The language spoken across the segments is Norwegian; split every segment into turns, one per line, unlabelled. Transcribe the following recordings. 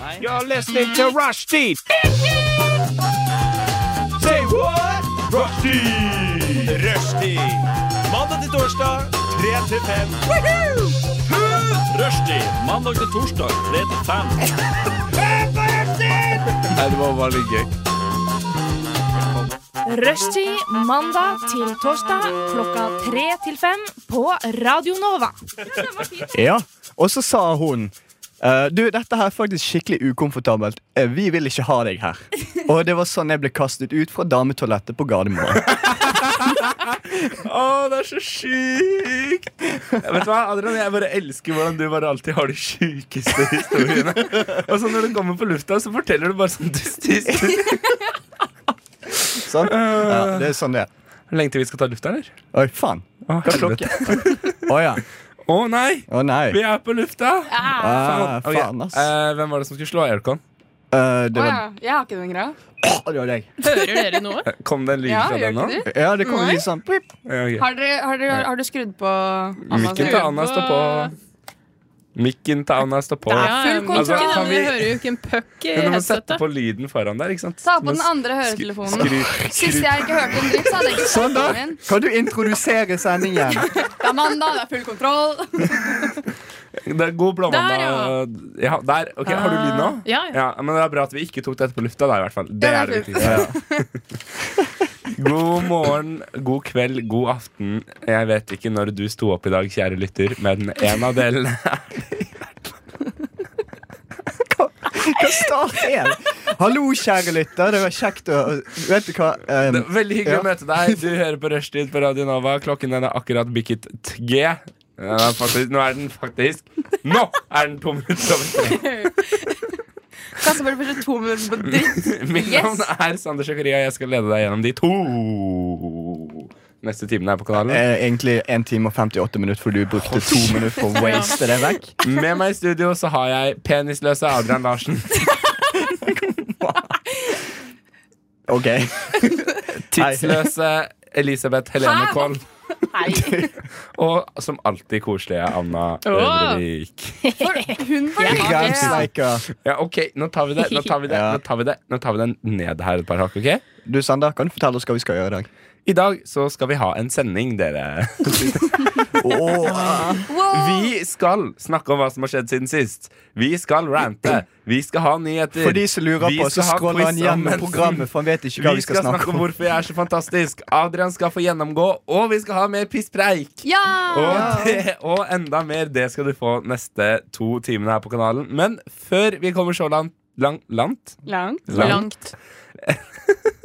Nei.
You're listening to Rushdie. Say what? Rushdie. Rushdie. Mandag til torsdag, 3 til 5.
Rushdie. Mandag til torsdag, 3 til 5.
Nei, det var veldig gøy.
Rushtid mandag til torsdag klokka tre til fem på Radio Nova.
Ja, og så sa hun «Eh, Du, dette her er faktisk skikkelig ukomfortabelt Eh, Vi vil ikke ha deg her Og det var sånn jeg ble kastet ut fra dametoalettet på Gardermoen
Å, det er så sjukt! Vet du hva, Adrian, jeg bare elsker hvordan du bare alltid har de sjukeste historiene. Og så når du kommer på lufta, så forteller du bare sånn dust historie.
sånn?
Eh.
ja, Det er sånn det er
Lenge til vi skal ta lufta, eller?
Oi, faen
Å,
Hva er klokken? Åja,
Å nei!
å
Vi
nei
er på lufta!
ah,
Ok,
Faen ass
eh, hvem var det som skulle slå Aircon?
Eh, Det
Å
var
ja. Jeg har ikke den greia.
det var deg
Hører dere noe?
Eh, Kom det en lyd
Ja,
fra
gjør
den nå?
ikke du?
Ja, det kom
Nei.
litt sånn pip.
Ja, ok.
Har, Altså, dere, har, dere, har du skrudd på Anna?
Mikken til Anna står på. Mikken til Anna står på.
Det er full
Altså,
kontroll.
kan vi-
vi hører jo ikke en puck i
Men du må sette
headsetet.
på lyden foran der, ikke sant?
Ta på
Nå
den
sk-
andre høretelefonen.
Skru,
Sist jeg ikke hørte en dritt, så hadde jeg ikke
Sånn, da.
snakket min.
Kan du introdusere sendingen?
Det er mandag, det er full kontroll.
Det er god blåmandag.
Der, ja.
Ja, der. Ok, Har du lyd nå?
Ah, ja, ja.
Men det er bra at vi ikke tok dette på lufta. Da, i hvert fall. Det
Ja,
er det
det er
viktigste. God morgen, god kveld, god aften. Jeg vet ikke når du sto opp i dag, kjære lytter, men en av delene
Hva start er det? Hallo, kjære lytter. Det var kjekt å Vet du hva?
Det
Um,
er Veldig hyggelig
Ja.
å møte deg. Du hører på Rushtid på Radio Nova. Klokken den er akkurat bikket t- G. Den er faktisk, nå er den faktisk Nå er den to minutter over tre.
Kassa bare først to minutter på dritt.
Mitt
Yes.
navn er Sander Sjakaria, og jeg skal lede deg gjennom de to neste timene her på kanalen.
eh, egentlig 1 time og 58 minutter, for du brukte to minutter på å waste det vekk.
Med meg i studio så har jeg penisløse Adrian Larsen.
OK.
Tidsløse Elisabeth Helene
Hæ?
Koll.
Hei.
Og som alltid koselige Anna Øvrevik.
Hun var
Big
litt-
guns like a
Ja, ok, nå tar vi det. Nå tar vi det,
Ja.
nå tar vi det, nå tar vi det ned her et par hakk, ok?
Du, Sander, kan du fortelle oss hva vi skal gjøre i dag?
I dag så skal vi ha en sending, dere.
Åh.
Vi skal snakke om hva som har skjedd siden sist. Vi skal rante. Vi skal ha nyheter.
For de som lurer
Vi
på, så
skal ha
scroller han
quiz om
gjennom
mensen.
programmet, for han vet ikke hva vi skal snakke om.
hvorfor jeg er så fantastisk. Adrian skal få gjennomgå, og vi skal ha mer pisspreik.
Ja!
Og, det, og enda mer. Det skal du få neste to timene her på kanalen. Men før vi kommer så langt Lang, langt?
Langt.
Langt.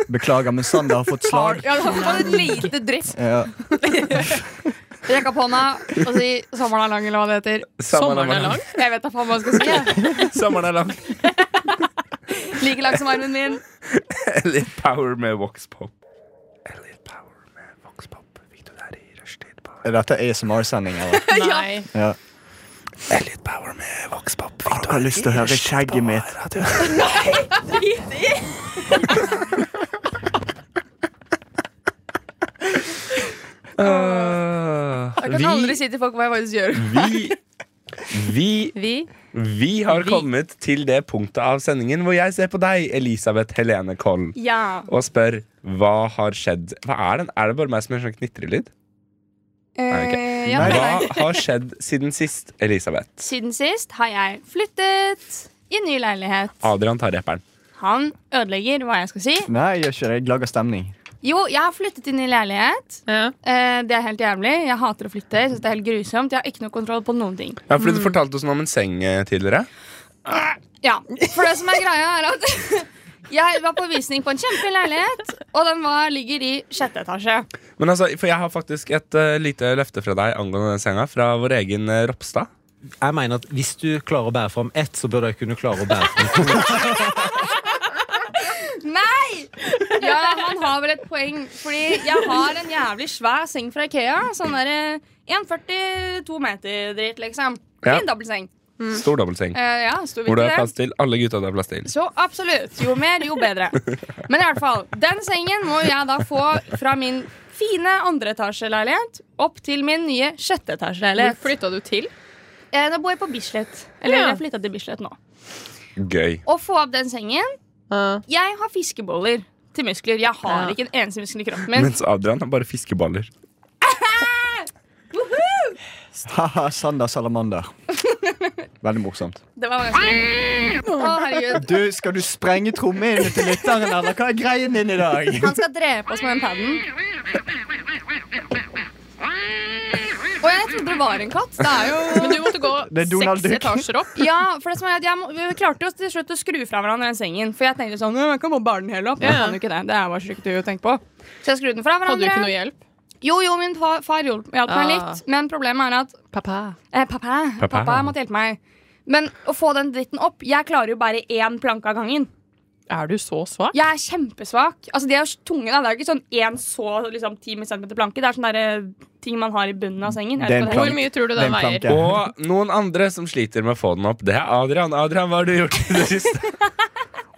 Beklager, men Sander har fått slag. Eh,
Ja, da var det lite dritt.
Ja.
Rekk opp hånda og si 'sommeren er lang', eller hva det heter.
Sommeren er lang.
Jeg vet da faen hva jeg skal si. jeg.
Sommeren er lang.
Like lang som armen min.
Elliot Power med Vox Pop. Elliot Power med Vox Pop. Fikk du det her i rushtid? på-
Er Dette ASMR-sending, eller?
Nei.
Ja.
Elliot Power med Vox Pop. Fikk
Jeg har lyst til å høre skjegget mitt.
Jeg kan aldri si til folk hva jeg faktisk gjør.
Ah, vi, vi,
Vi
vi har
Vi-
kommet til det punktet av sendingen hvor jeg ser på deg, Elisabeth Helene Koll,
Ja.
og spør hva har skjedd. Hva er, den? er det bare meg som gjør sånn knitrelyd? ok.
Eh, ja,
Hva
nei.
har skjedd siden sist, Elisabeth?
Siden sist har jeg flyttet i ny leilighet.
Adrian tar rapperen.
Han ødelegger hva jeg skal si.
Nei, jeg gjør ikke det. Jeg lager stemning.
Jo, jeg har flyttet inn i leilighet.
ja.
Eh, det er helt jævlig. Jeg hater å flytte. Jeg synes det er helt grusomt. Jeg har ikke noe kontroll på noen ting.
Ja, fordi Du fortalte oss noe om en seng eh, tidligere.
Ja, For det som er greia, er at jeg var på visning på en kjempeleilighet, og den var, ligger i sjette etasje.
Men altså, For jeg har faktisk et eh, lite løfte fra deg angående den senga, fra vår egen eh, Ropstad.
Jeg mener at Hvis du klarer å bære fram ett, så burde jeg kunne klare å bære fram to.
Nei! Ja, han har vel et poeng, fordi jeg har en jævlig svær seng fra Ikea. Sånn derre 1,42 meter-dritt, liksom.
Ja.
Fin dobbeltseng.
Stor dobbeltseng.
Eh, ja, stor
Hvor det
vinkel,
er
det.
plass til alle gutta det er plass til.
Så absolutt. Jo mer, jo bedre. Men i hvert fall, den sengen må jeg da få fra min fine andreetasjeleilighet opp til min nye
Hvor
sjetteetasjeleilighet.
flytta du til?
Eh, Nå bor jeg på Bislett. Eller
Ja.
jeg flytta til Bislett nå.
Gøy.
Å få opp den sengen
Ja.
Jeg har fiskeboller til muskler. Jeg har
Ja.
ikke en eneste muskel i kroppen min.
Mens Adrian har bare fiskeballer.
Haha, Sander Salamander. Veldig morsomt.
Det var vanskelig. Å, herregud.
Du, Skal du sprenge trommehinnene til lytteren, eller hva er greien din i dag?
Han skal drepe oss med den paden. Og jeg trodde det var en katt. Det er jo
Men du måtte gå
Det er Donald
seks
Duck.
etasjer opp.
Ja, for det som er at jeg må, Vi klarte jo til slutt å skru fra hverandre den sengen. For jeg tenkte sånn «Nå, Jeg kan bare bære den hele opp. Men
Ja.
jeg kan jo ikke det. Det er bare sykt å tenke på. Så jeg skrudde den fra
Hadde du ikke noe
hverandre.
hjelp?
Jo, jo, min far, far hjalp hjalp meg
Ah.
litt. Men problemet er at
Pappa.
Eh, pappa,
Pappa.
pappa. måtte hjelpe meg. Men å få den dritten opp Jeg klarer jo bare én planke av gangen.
Er du så svak?
Jeg er kjempesvak. Altså, De er jo tunge. da Det er jo ikke sånn én så liksom, 10 cm planke. Det er sånne der, eh, ting man har i bunnen av sengen. Jeg
Det er
vet
en
ikke hva
Hvor
det heter.
mye tror du
Det er
den
en
veier?
planke.
Og noen andre som sliter med å få den opp, det er Adrian. Adrian, hva har du gjort i det siste?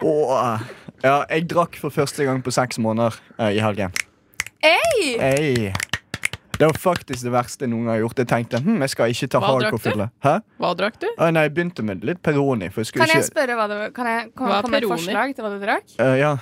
Åh. Ja, jeg drakk for første gang på seks måneder eh, i helgen.
Hey!
Ei. Det var faktisk det verste noen gang har gjort. Jeg tenkte hm, jeg skal ikke ta
Hva drakk du?
hardcore-fylle. Hæ?
Hva drakk du?
Å, nei, jeg begynte med litt Peroni. For jeg skulle
Kan jeg
ikke
spørre hva det var? Kan jeg kan
Hva er
jeg komme med et
Peroni?
forslag til hva du drakk?
Eh, ja.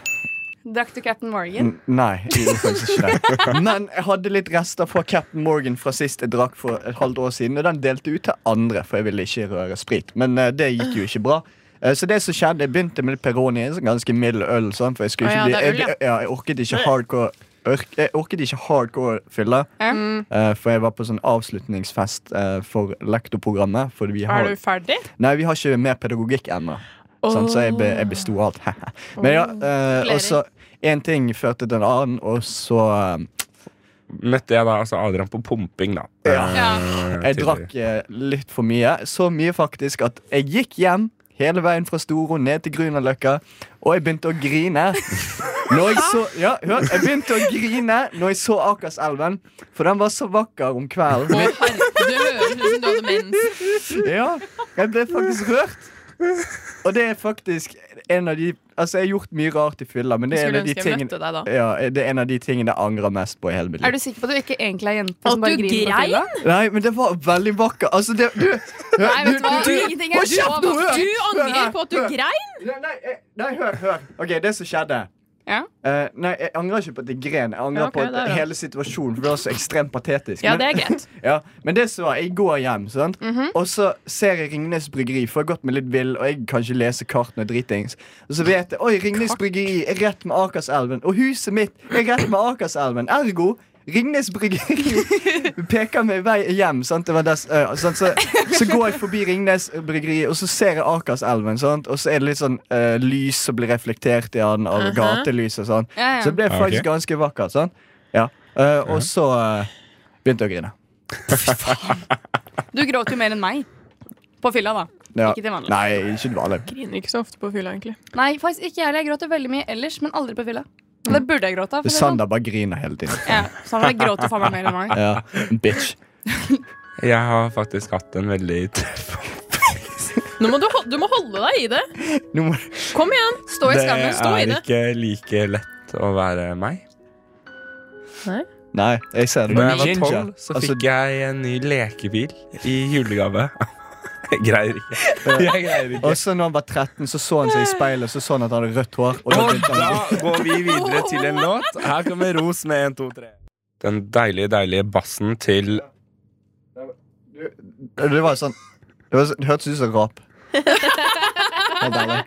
Drakk du Captain Morgan?
N nei, jeg gjorde faktisk ikke det. Men jeg hadde litt rester fra Captain Morgan fra sist jeg drakk for et halvt år siden. Og den delte ut til andre, for jeg ville ikke røre sprit. Men eh, det gikk jo ikke bra. Eh, Så det som skjedde, jeg begynte med litt Peroni, en sånn ganske middel øl. Sånn, for jeg, skulle
Å ja,
ikke bli,
det er øl,
jeg, ja, jeg orket ikke hardcore ørk- Jeg orket ikke hardcore fylle,
Ja.
eh, for jeg var på sånn avslutningsfest eh, for lektorprogrammet. For
Mm.
vi har
Er du ferdig?
Nei, vi har ikke mer pedagogikk ennå. Sånn, så jeg, be, jeg besto alt. Men ja, eh, og så én ting førte til en annen, og så eh,
Møtte jeg da altså Adrian på pumping, da. Eh,
Jeg
tidligere.
drakk eh, litt for mye. Så mye faktisk at jeg gikk hjem hele veien fra Storo ned til Grünerløkka, og jeg begynte å grine. Når jeg så Ja, hør. Jeg begynte å grine når jeg så Akerselven, for den var så vakker om
Å,
kvelden.
herregud, det høres ut som du hadde mens.
Ja, jeg ble faktisk rørt. Og det er faktisk en av de Altså, jeg har gjort mye rart i fylla, men det er en
Skulle
av de
ønske jeg
tingene
møtte deg da.
ja, det er en av de tingene jeg angrer mest på i hele mitt
Er
liv.
du sikker på at du ikke egentlig er jente
At
som bare
du
griner? på fylla?
Nei, men det var veldig vakker. Altså, det Du, hør,
Nei, vet du hva? Ingenting er altså.
Hold kjeft nå! hør!
Du angrer
Hør,
på at du
hør.
grein?
Nei, nei, eh, nei, hør, hør. OK, det som skjedde.
Ja.
Eh, nei, jeg angrer ikke på at jeg gren. Jeg angrer
Ja, ok,
på
det er
at
det.
hele situasjonen for det var så ekstremt patetisk.
Ja,
Men-
det er greit.
Ja, men det som var, jeg går hjem, sant?
Mhm.
og så ser jeg Ringnes Bryggeri, for jeg har gått meg litt vill, og jeg kan ikke lese kartene dritings. Og så vet jeg oi, Ringnes Bryggeri er rett med Akerselven, og huset mitt er rett med Akerselven. Ergo Ringnes Bryggeri peker meg vei hjem. Sant? Det var dess, øh, sant? Så, så går jeg forbi Ringnes Bryggeri, og så ser jeg Akerselven, sant? og så er det litt sånn øh, lys som blir reflektert i den, av gatelys og sånn.
Ja, ja.
Så det ble
Ja,
faktisk
ok.
ganske vakkert. Sånn. Ja. Eh, og så eh, begynte jeg å grine.
Du gråt jo mer enn meg. På fylla, da.
Ja.
Ikke til vanlig.
Nei, ikke til vanlig.
Griner ikke så ofte på fylla, egentlig.
Nei, faktisk ikke jeg heller. Jeg gråter veldig mye ellers, men aldri på fylla. Og det burde jeg gråte av. for å si det sånn.
Sander bare griner hele tiden.
Ja, Sander gråter faen meg mer enn meg.
Ja, bitch.
Jeg har faktisk hatt en veldig tøff
Nå må du, hol- du må holde deg i det.
Nå må
Kom igjen. Stå i
Det
skammen. Stå i
er
det.
ikke like lett å være meg.
Nei, jeg ser det.
Da jeg var
Ginger.
tolv, så
Altså,
fikk jeg en ny lekebil i julegave. Jeg greier ikke. Jeg greier ikke.
Og så når han var 13, så så han seg i speilet og så så han at han hadde rødt hår. Og da
Og
begynte han å grine.
da går vi videre til en låt. Her kommer Ros med 1, 2, 3. Den deilige, deilige bassen til
Det var sånn Det, var, sånn- det hørtes ut som rap. Helt ærlig.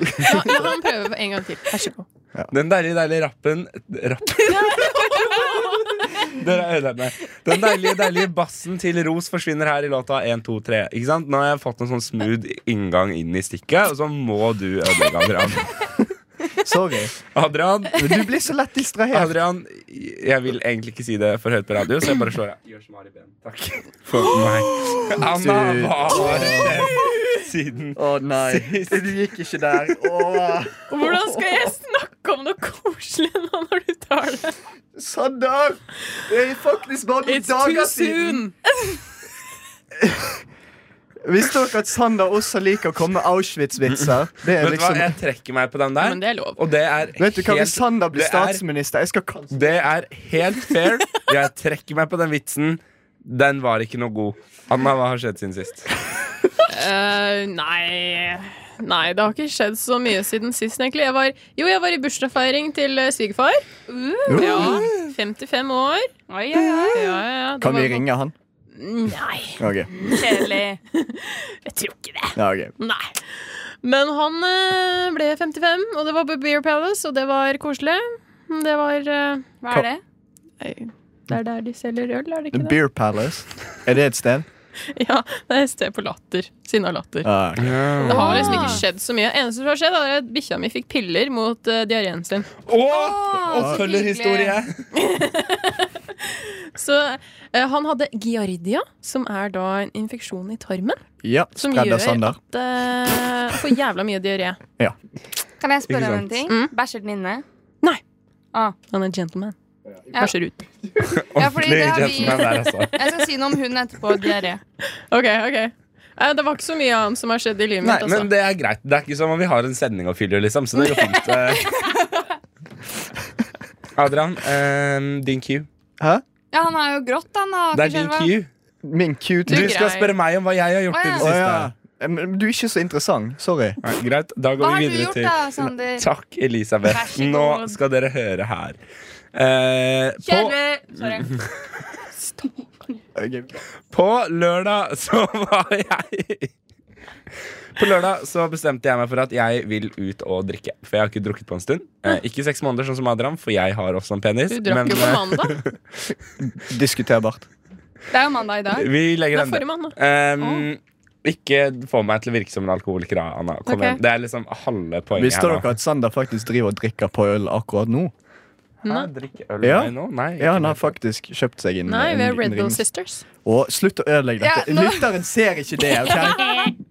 La, la ham prøve en gang til. Vær så god.
Den deilige, deilige rappen Rappen? Dere har ødelagt meg. Den deilige, deilige bassen til Ros forsvinner her i låta 1, 2, 3. Ikke sant? Nå har jeg fått en sånn smooth inngang inn i stikket, og så må du ødelegge Adrian.
Sorry.
Adrian,
Men du blir så lett distrahert.
Adrian, jeg vil egentlig ikke si det for høyt på radio, så jeg bare slår av. Gjør som Ari Behn. Takk for meg. Anna, hva har skjedd siden
Å nei. Du gikk ikke der. Åh.
Hvordan skal jeg snakke om noe koselig nå når du tar det?
Sander! Det er faktisk bare noen dager siden. Visste dere at Sander også liker å komme med Auschwitz-vitser? Det er
Vet du hva,
liksom
jeg trekker meg på den der.
Men det er lov.
Og det er
Vet du hva, Hvis
helt,
Sander blir
det er-
statsminister Jeg skal kansellere
det er helt fair. Jeg trekker meg på den vitsen. Den var ikke noe god. Anna, hva har skjedd siden sist?
Eh, nei Nei, det har ikke skjedd så mye siden sist, egentlig. Jeg var, jo, jeg var i bursdagsfeiring til eh, svigerfar. Ja, 55 år.
Oi, oi, oi.
Ja, ja, ja. Det
Kan
var- sånn,
vi ringe han?
Nei,
Ok.
Kjedelig.
jeg tror ikke det.
Ja, ok.
Nei. Men han eh, ble 55, og det var på Beer Palace, og det var koselig. Det var eh,
Hva er det?
nei, Det er der de selger øl, er det
The
ikke det?
Beer Palace. Er det et sted?
Ja, det er et sted på Latter. Sinna Latter.
Ah, ok.
Det har liksom ikke skjedd så mye. Eneste som har skjedd, er at bikkja mi fikk piller mot uh, diareen sin.
Åh, Oppfølgerhistorie!
Så eh, han hadde giardia, som er da en infeksjon i tarmen.
Ja,
Som
Spredda
gjør
Sander.
at eh, får jævla mye diaré.
Kan jeg spørre
Ikke
om en ting? Bæsjer den inne?
Han er gentleman.
Ja.
Bæsjer ut.
Ja, fordi
Ordentlig
det har vi
gentleman der, altså.
Jeg skal si noe om hunden etterpå. Diaré.
Ok, ok. Eh, det var ikke så mye annet som har skjedd i livet
Nei,
mitt.
men
Altså.
det er greit. Det er ikke som om vi har en sending å fylle, liksom. Så det går fint. eh. Adrian, eh, din Q.
Hæ?
Ja, han har jo grått, han. da,
Det er din
Akerselva.
Q.
Min
Du
cutie.
skal spørre meg om hva jeg har gjort i det
Å
siste.
ja. Eh, Men Du er ikke så interessant. Sorry.
Nei, greit, da
Hva
går
har
vi
du
videre
gjort
til
da, Sander?
Takk, Elisabeth.
Vær så god.
Nå skal dere høre her. Eh, på,
Kjedelig. Sorry.
Ok.
på lørdag så var jeg På lørdag så bestemte jeg meg for at jeg vil ut og drikke. For jeg har ikke drukket på en stund. Eh, ikke seks måneder, sånn som Adrian, for jeg har også en penis.
Du drakk jo på
eh,
mandag.
Diskuterbart.
Det er jo mandag i dag.
vi
Det
legger
er
den der.
forrige mandag.
Ehm, Ikke få meg til å virke som en alkoholiker, da, Anna. Kom
Ok.
igjen. Det er liksom halve poenget
Visste
her.
dere at Sander faktisk driver og drikker på øl akkurat nå?
Hæ, drikke øl
Ja.
Nei, nå? Nei,
Ja, han
ikke
har faktisk kjøpt seg en
Nei, vi
en-
er
en
Red Bull
rings.
Sisters.
Og slutt å ødelegge dette.
Ja, nå-
Lytteren ser ikke det. ok?
Du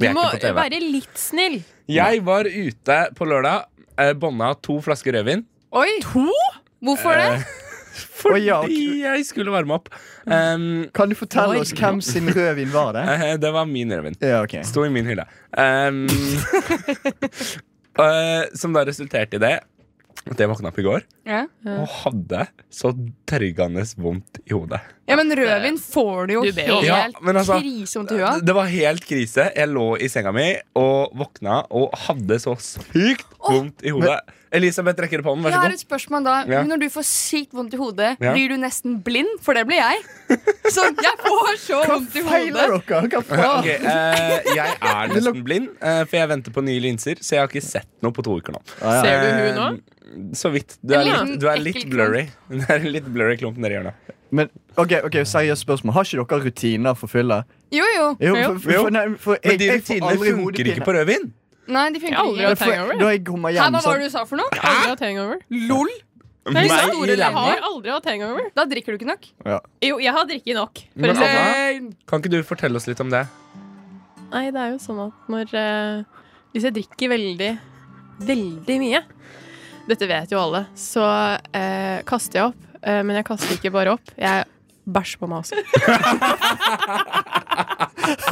Vi er
må
ikke på TV.
være litt snill.
Jeg var ute på lørdag, eh, bånda to flasker rødvin.
Oi! To? Hvorfor det?
Eh,
Å,
Fordi
ja,
jeg skulle varme opp. Um,
Kan du fortelle oss hvem sin rødvin var det?
eh, det var min rødvin.
Ja, ok
Sto i min hylle. Um, eh, som da resulterte i det at jeg våkna opp i går
Ja.
og hadde så tørgende vondt i hodet.
ja, men rødvin får du jo
Du ber jo om
Ja,
helt
men altså-
krisevondt i huet av.
Det var helt krise. Jeg lå i senga mi og våkna og hadde så sykt vondt i hodet. Elisabeth rekker opp hånden.
Jeg
Vær så
har
god.
et spørsmål da
Ja.
Når du får sykt vondt i hodet,
Ja.
blir du nesten blind? For det blir jeg. Så jeg får så vondt i hodet.
Feiler dere? Hva
Ok,
faen?
eh, jeg er nesten blind, eh, for jeg venter på nye linser, så jeg har ikke sett noe på to uker nå.
Ah, ja.
Ser du hun nå?
Eh, Så vidt. Du er
En
litt,
liten
du er
ekkel
litt blurry. Det er en litt blurry klump nedi hjørnet.
Men ok, ok, seriøst spørsmål. Har ikke dere rutiner for fylla?
Jo, jo.
Jo, for, for,
Jo.
for, nei, for
Men
jeg,
de
jeg får
rutinene
aldri
funker
hodepine.
ikke på rødvin.
Nei, de
Jeg har aldri
funker
hatt
ikke.
For,
hangover.
da jeg kommer
Hæ,
hjem
hva var
sånn
det du sa for noe?
Jeg har Aldri hatt hangover.
LOL!
Nei,
Meg
jeg
i ræva.
liksom har aldri hatt hangover. eh,
Da drikker du ikke nok. Eh,
Jo, jeg har drikket nok. for
Men
å si det.
Anna, kan ikke du fortelle oss litt om det?
Nei, det er jo sånn at når eh, Hvis jeg drikker veldig, veldig mye Dette vet jo alle. Så eh, kaster jeg opp. Eh, men jeg kaster ikke bare opp. Jeg bæsjer på meg også.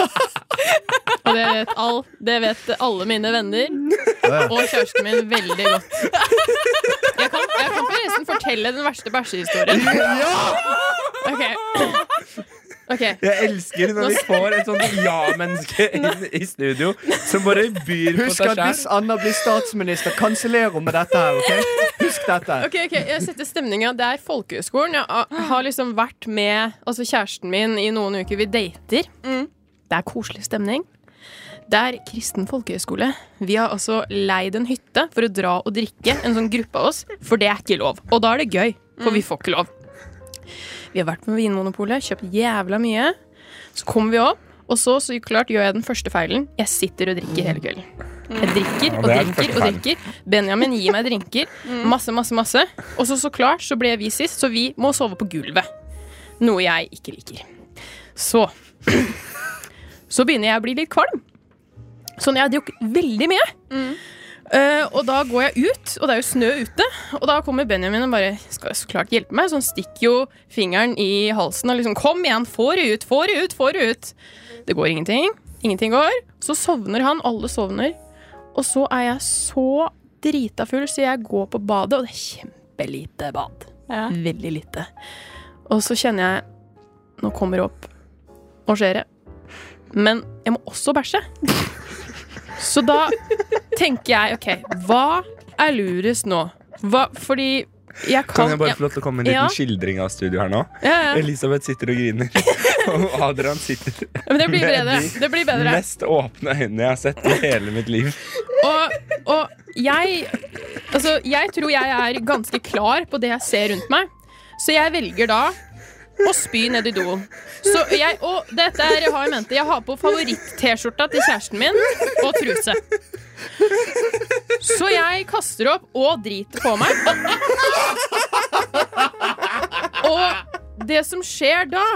Og det vet, all, det vet alle mine venner og kjæresten min veldig godt. Jeg kan, jeg kan forresten fortelle den verste bæsjehistorien. Ok. Ok.
Jeg elsker når vi får et sånt ja-menneske inn i studio som bare byr på
Husk
seg
at hvis
sjæl.
Anna blir statsminister, kanseller hun med dette her. ok? Husk dette.
Ok, ok, jeg setter stemninga. Det er folkehøyskolen. Jeg a- har liksom vært med altså kjæresten min i noen uker. Vi dater. Det er koselig stemning. Det er kristen folkehøyskole. Vi har altså leid en hytte for å dra og drikke, en sånn gruppe av oss, for det er ikke lov. Og da er det gøy, for vi får ikke lov. Vi har vært på Vinmonopolet, kjøpt jævla mye. Så kommer vi opp, og så, så klart gjør jeg den første feilen. Jeg sitter og drikker hele kvelden. Jeg drikker og
Mm. det er den
drikker
første Mm.
og drikker. Benjamin gir meg drinker. Masse, masse, masse. Og så, så klart, så ble vi sist, så vi må sove på gulvet. Noe jeg ikke liker. Så Så begynner jeg å bli litt kvalm. Sånn, jeg har drukket veldig mye. Eh, og da går jeg ut, og det er jo snø ute. Og da kommer Benjamin og bare skal så klart hjelpe meg. Så han stikker jo fingeren i halsen og liksom Kom igjen, få det ut, få det ut, få det ut. Det går ingenting. Ingenting går. Så sovner han. Alle sovner. Og så er jeg så drita full, så jeg går på badet, og det er kjempelite bad. Veldig lite. Og så kjenner jeg Nå kommer det opp. Nå skjer det. Men jeg må også bæsje. Så da tenker jeg OK, hva er lurest nå? Hva, fordi jeg kan,
Kan jeg bare få lov til å komme med en
Ja.
liten skildring av studio her nå?
ja, ja, ja.
Elisabeth sitter og griner. Og Adrian sitter
Men det blir
med
bedre.
de
Det blir bedre.
mest åpne øynene jeg har sett i hele mitt liv.
Og, og jeg Altså, jeg tror jeg er ganske klar på det jeg ser rundt meg, så jeg velger da å spy ned i doen. Så jeg, og dette er, jeg har i mente, jeg har på favoritt-T-skjorta til kjæresten min og truse. Så jeg kaster opp og driter på meg. Og det som skjer da,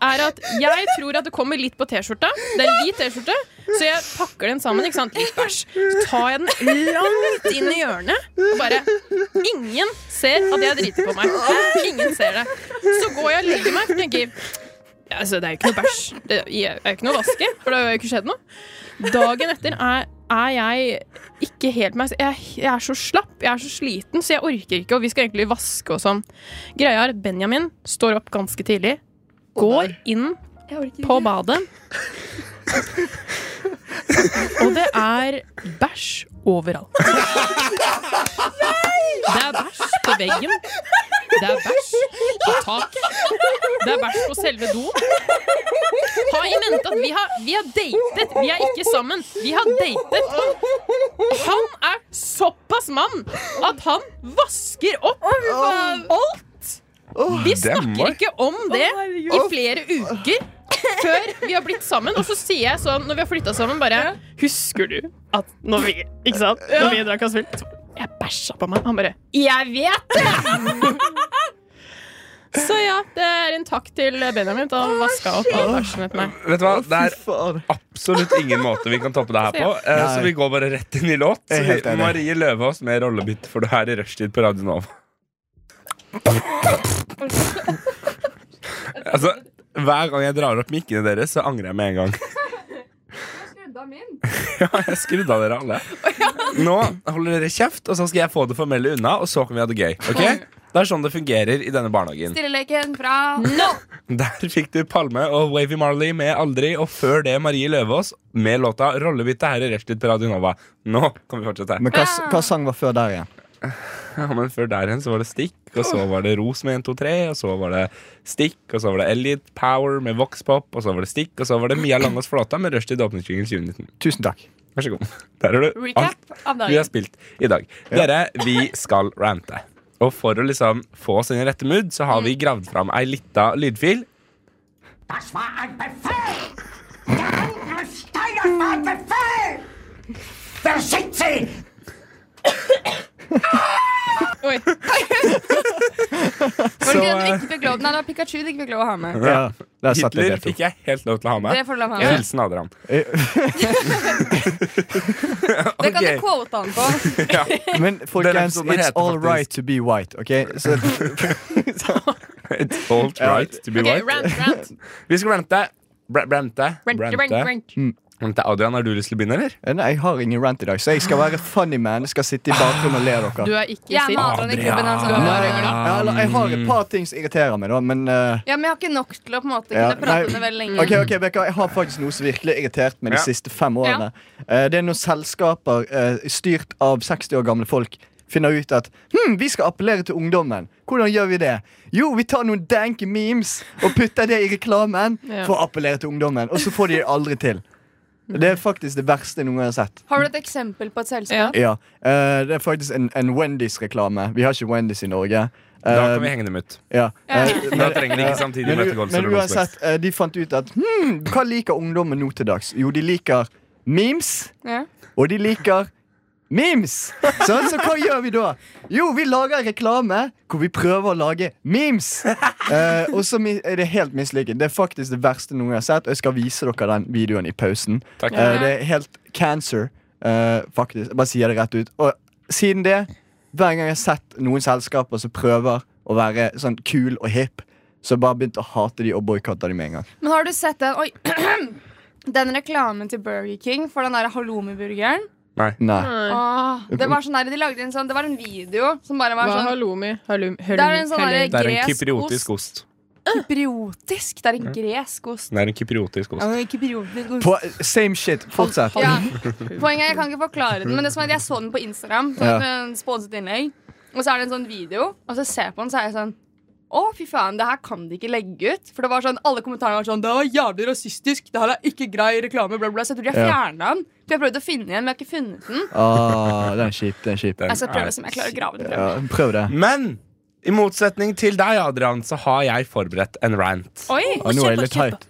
er at jeg tror at det kommer litt på T-skjorta. Det er en hvit T-skjorte, så jeg pakker den sammen. ikke sant? Litt bæsj. Så tar jeg den langt inn i hjørnet, og bare Ingen ser at jeg driter på meg. Ingen ser det. Så går jeg og legger meg og tenker ja, altså, Det er jo ikke noe bæsj. Det er jo ikke noe å vaske, for det har jo ikke skjedd noe. Dagen etter er, er jeg ikke helt meg jeg, jeg er så slapp, jeg er så sliten, så jeg orker ikke. Og vi skal egentlig vaske og sånn. Greia er at Benjamin står opp ganske tidlig, går inn på badet. Og det er bæsj overalt. Det er bæsj på veggen. Det er bæsj på taket. Det er bæsj på selve doen. Ha i mente at vi har, vi har datet. Vi er ikke sammen. Vi har datet. Han er såpass mann at han vasker opp alt. Vi snakker ikke om det i flere uker før vi har blitt sammen. Og så sier jeg sånn når vi har flytta sammen, bare Husker du at når vi Ikke sant? Når vi drakk oss full, så Jeg bæsja på meg. Han bare Jeg vet det! Så ja, det er en takk til Benjamin. at Han vaska opp all bæsjen etter meg.
Vet du hva? Det er
Fy faen.
absolutt ingen måte vi kan toppe det her på, eh,
Nei.
så vi går bare rett inn i låt.
Jeg
Så
er helt
vi,
enig.
Marie Løvaas med rollebytt, for du er i rushtid på Radio Nova. altså, hver gang jeg drar opp mikkene deres, så angrer jeg med en gang. Ja, jeg skrudde av dere alle. Nå holder dere kjeft, og så skal jeg få det formelle unna, og så kan vi ha det gøy. ok? Det er sånn det fungerer i denne barnehagen.
Stilleleken fra nå.
Der fikk du Palme og Wavy Marley med Aldri, og før det Marie Løvaas med låta Rollebytte her i Rushtid på Radio Nova. Nå kan vi fortsette.
Men hva, s- hva sang var før der igjen?
Ja, men før der igjen så var det Stikk, og så var det Ros med 1, 2, 3, og så var det Stikk, og så var det Elliot Power med Voxpop, og så var det Stikk, og så var det Mia Langås Flata med Rushtid åpningsjingel 2019.
Tusen takk.
Vær så god. Der har du alt
Recap av
vi har
dagen.
spilt i dag. Dere, vi skal rante. Og for å liksom få oss inn i rette mood, så har vi gravd fram ei lita lydfil.
Oi,
Var det ikke den du ikke fikk lov Nei, det var Pikachu du ikke fikk lov å ha med.
Ja, der satt jeg
eh, Hitler
det to.
fikk jeg helt lov til å ha
Det
med.
får du lov å ha med.
Hilsen Adrian.
Det kan
Ok.
du quote han på.
Men folkens,
episoden
it's
heter
all
faktisk-
right to be white, OK? Så,
It's all right to be
ok,
white.
rant, rant.
Vi skal rante. Br rante.
Rant, rant,
eh.
Rante.
rant.
Rante. Adrian, har du lyst til å begynne, eller?
nei, jeg har ingen rant i dag, så jeg skal være funny man. Jeg skal sitte i bakgrunnen og le av
Du
dere.
er ikke
Jeg er med
sint.
Adrian i klubben. Altså.
Ja, eller, jeg har et par ting som irriterer meg, da, men eh,
Ja, men jeg har ikke nok til å på en måte
Ja,
kunne prate
nei.
om det veldig lenge.
Ok, ok, Becca, Jeg har faktisk noe som virkelig har irritert meg de
Ja.
siste fem årene. Eh, det er når selskaper eh, styrt av 60 år gamle folk finner ut at hm, vi skal appellere til ungdommen. Hvordan gjør vi det? Jo, vi tar noen danke memes og putter det i reklamen
Ja.
for å appellere til ungdommen. Og så får de det aldri til. Det er faktisk det verste jeg noen gang har sett.
Har du et eksempel på et
Ja.
selskap?
Ja, eh, Det er faktisk en, en Wendy's-reklame. Vi har ikke Wendy's i Norge.
Da
Eh,
kan vi henge dem ut.
ja.
Ja.
eh,
Da trenger de ikke samtidig
men, u-
møtegolf
men
eller noe som helst.
uansett, eh, de fant ut at hmm, hva liker ungdommen nå til dags? Jo, de liker memes,
Ja.
og de liker memes. Sånn, så hva gjør vi da? Jo, vi lager reklame hvor vi prøver å lage memes. Eh, og så mi- er det helt mislykket. Det er faktisk det verste noen gang jeg har sett, og jeg skal vise dere den videoen i pausen.
Takk.
Eh, det er helt cancer, eh, faktisk. Jeg bare sier det rett ut. Og siden det, hver gang jeg har sett noen selskaper som prøver å være sånn kul og hip, så har jeg bare begynt å hate de og boikotte de med en gang.
Men har du sett den Oi. Den reklamen til Burger King for den der halloumiburgeren.
Nei.
Åh, Det var sånn der, de lagde en sånn Det var en video som bare
Hva
var
er
sånn
halloumi? Halloumi?
Det er en sånn
halloumi.
der
Det er en
gresk
kypriotisk ost.
Kypriotisk. Det er en gresk ost.
Det er en kypriotisk ost.
Kypriotisk
Mm.
ost.
På, same shit. Fortsett.
Ja. Poenget er, Jeg kan ikke forklare den, men det som er at jeg så den på Instagram. Sånn,
Ja.
en sponset innlegg Og så er det en sånn video, og så ser jeg på den, så er jeg sånn å, fy faen, det her kan de ikke legge ut. For det var sånn, Alle kommentarene var sånn Det var jævlig rasistisk. Det her er ikke grei reklame. Bla, bla. Så jeg tror de har
Ja.
fjerna den. For jeg prøvde å finne den igjen, men jeg har ikke funnet den. Altså,
Ah, den er kjip. Den er kjip.
Den
Altså,
Jeg skal
er-
prøve som jeg klarer å grave den
Ja,
frem.
prøv
Mm.
det.
Men i motsetning til deg, Adrian, så har jeg forberedt en rant.
Oi!
Ah, nå er jeg litt tight.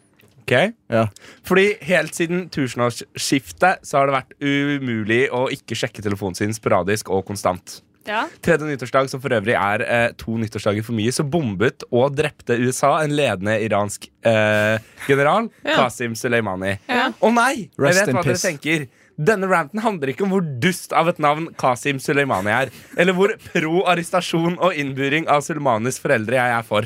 ok?
Ja.
Fordi helt siden tusenårsskiftet så har det vært umulig å ikke sjekke telefonen sin sporadisk og konstant.
Ja.
Tredje nyttårsdag, som for øvrig er eh, to nyttårsdager for mye, så bombet og drepte USA en ledende iransk eh, general, Qasim Soleimani. Å
Ja.
nei!
Rest
jeg vet
in
hva dere
peace.
tenker. Denne ranten handler ikke om hvor dust av et navn Qasim Soleimani er, eller hvor pro arrestasjon og innburing av Sulmanis foreldre jeg er for.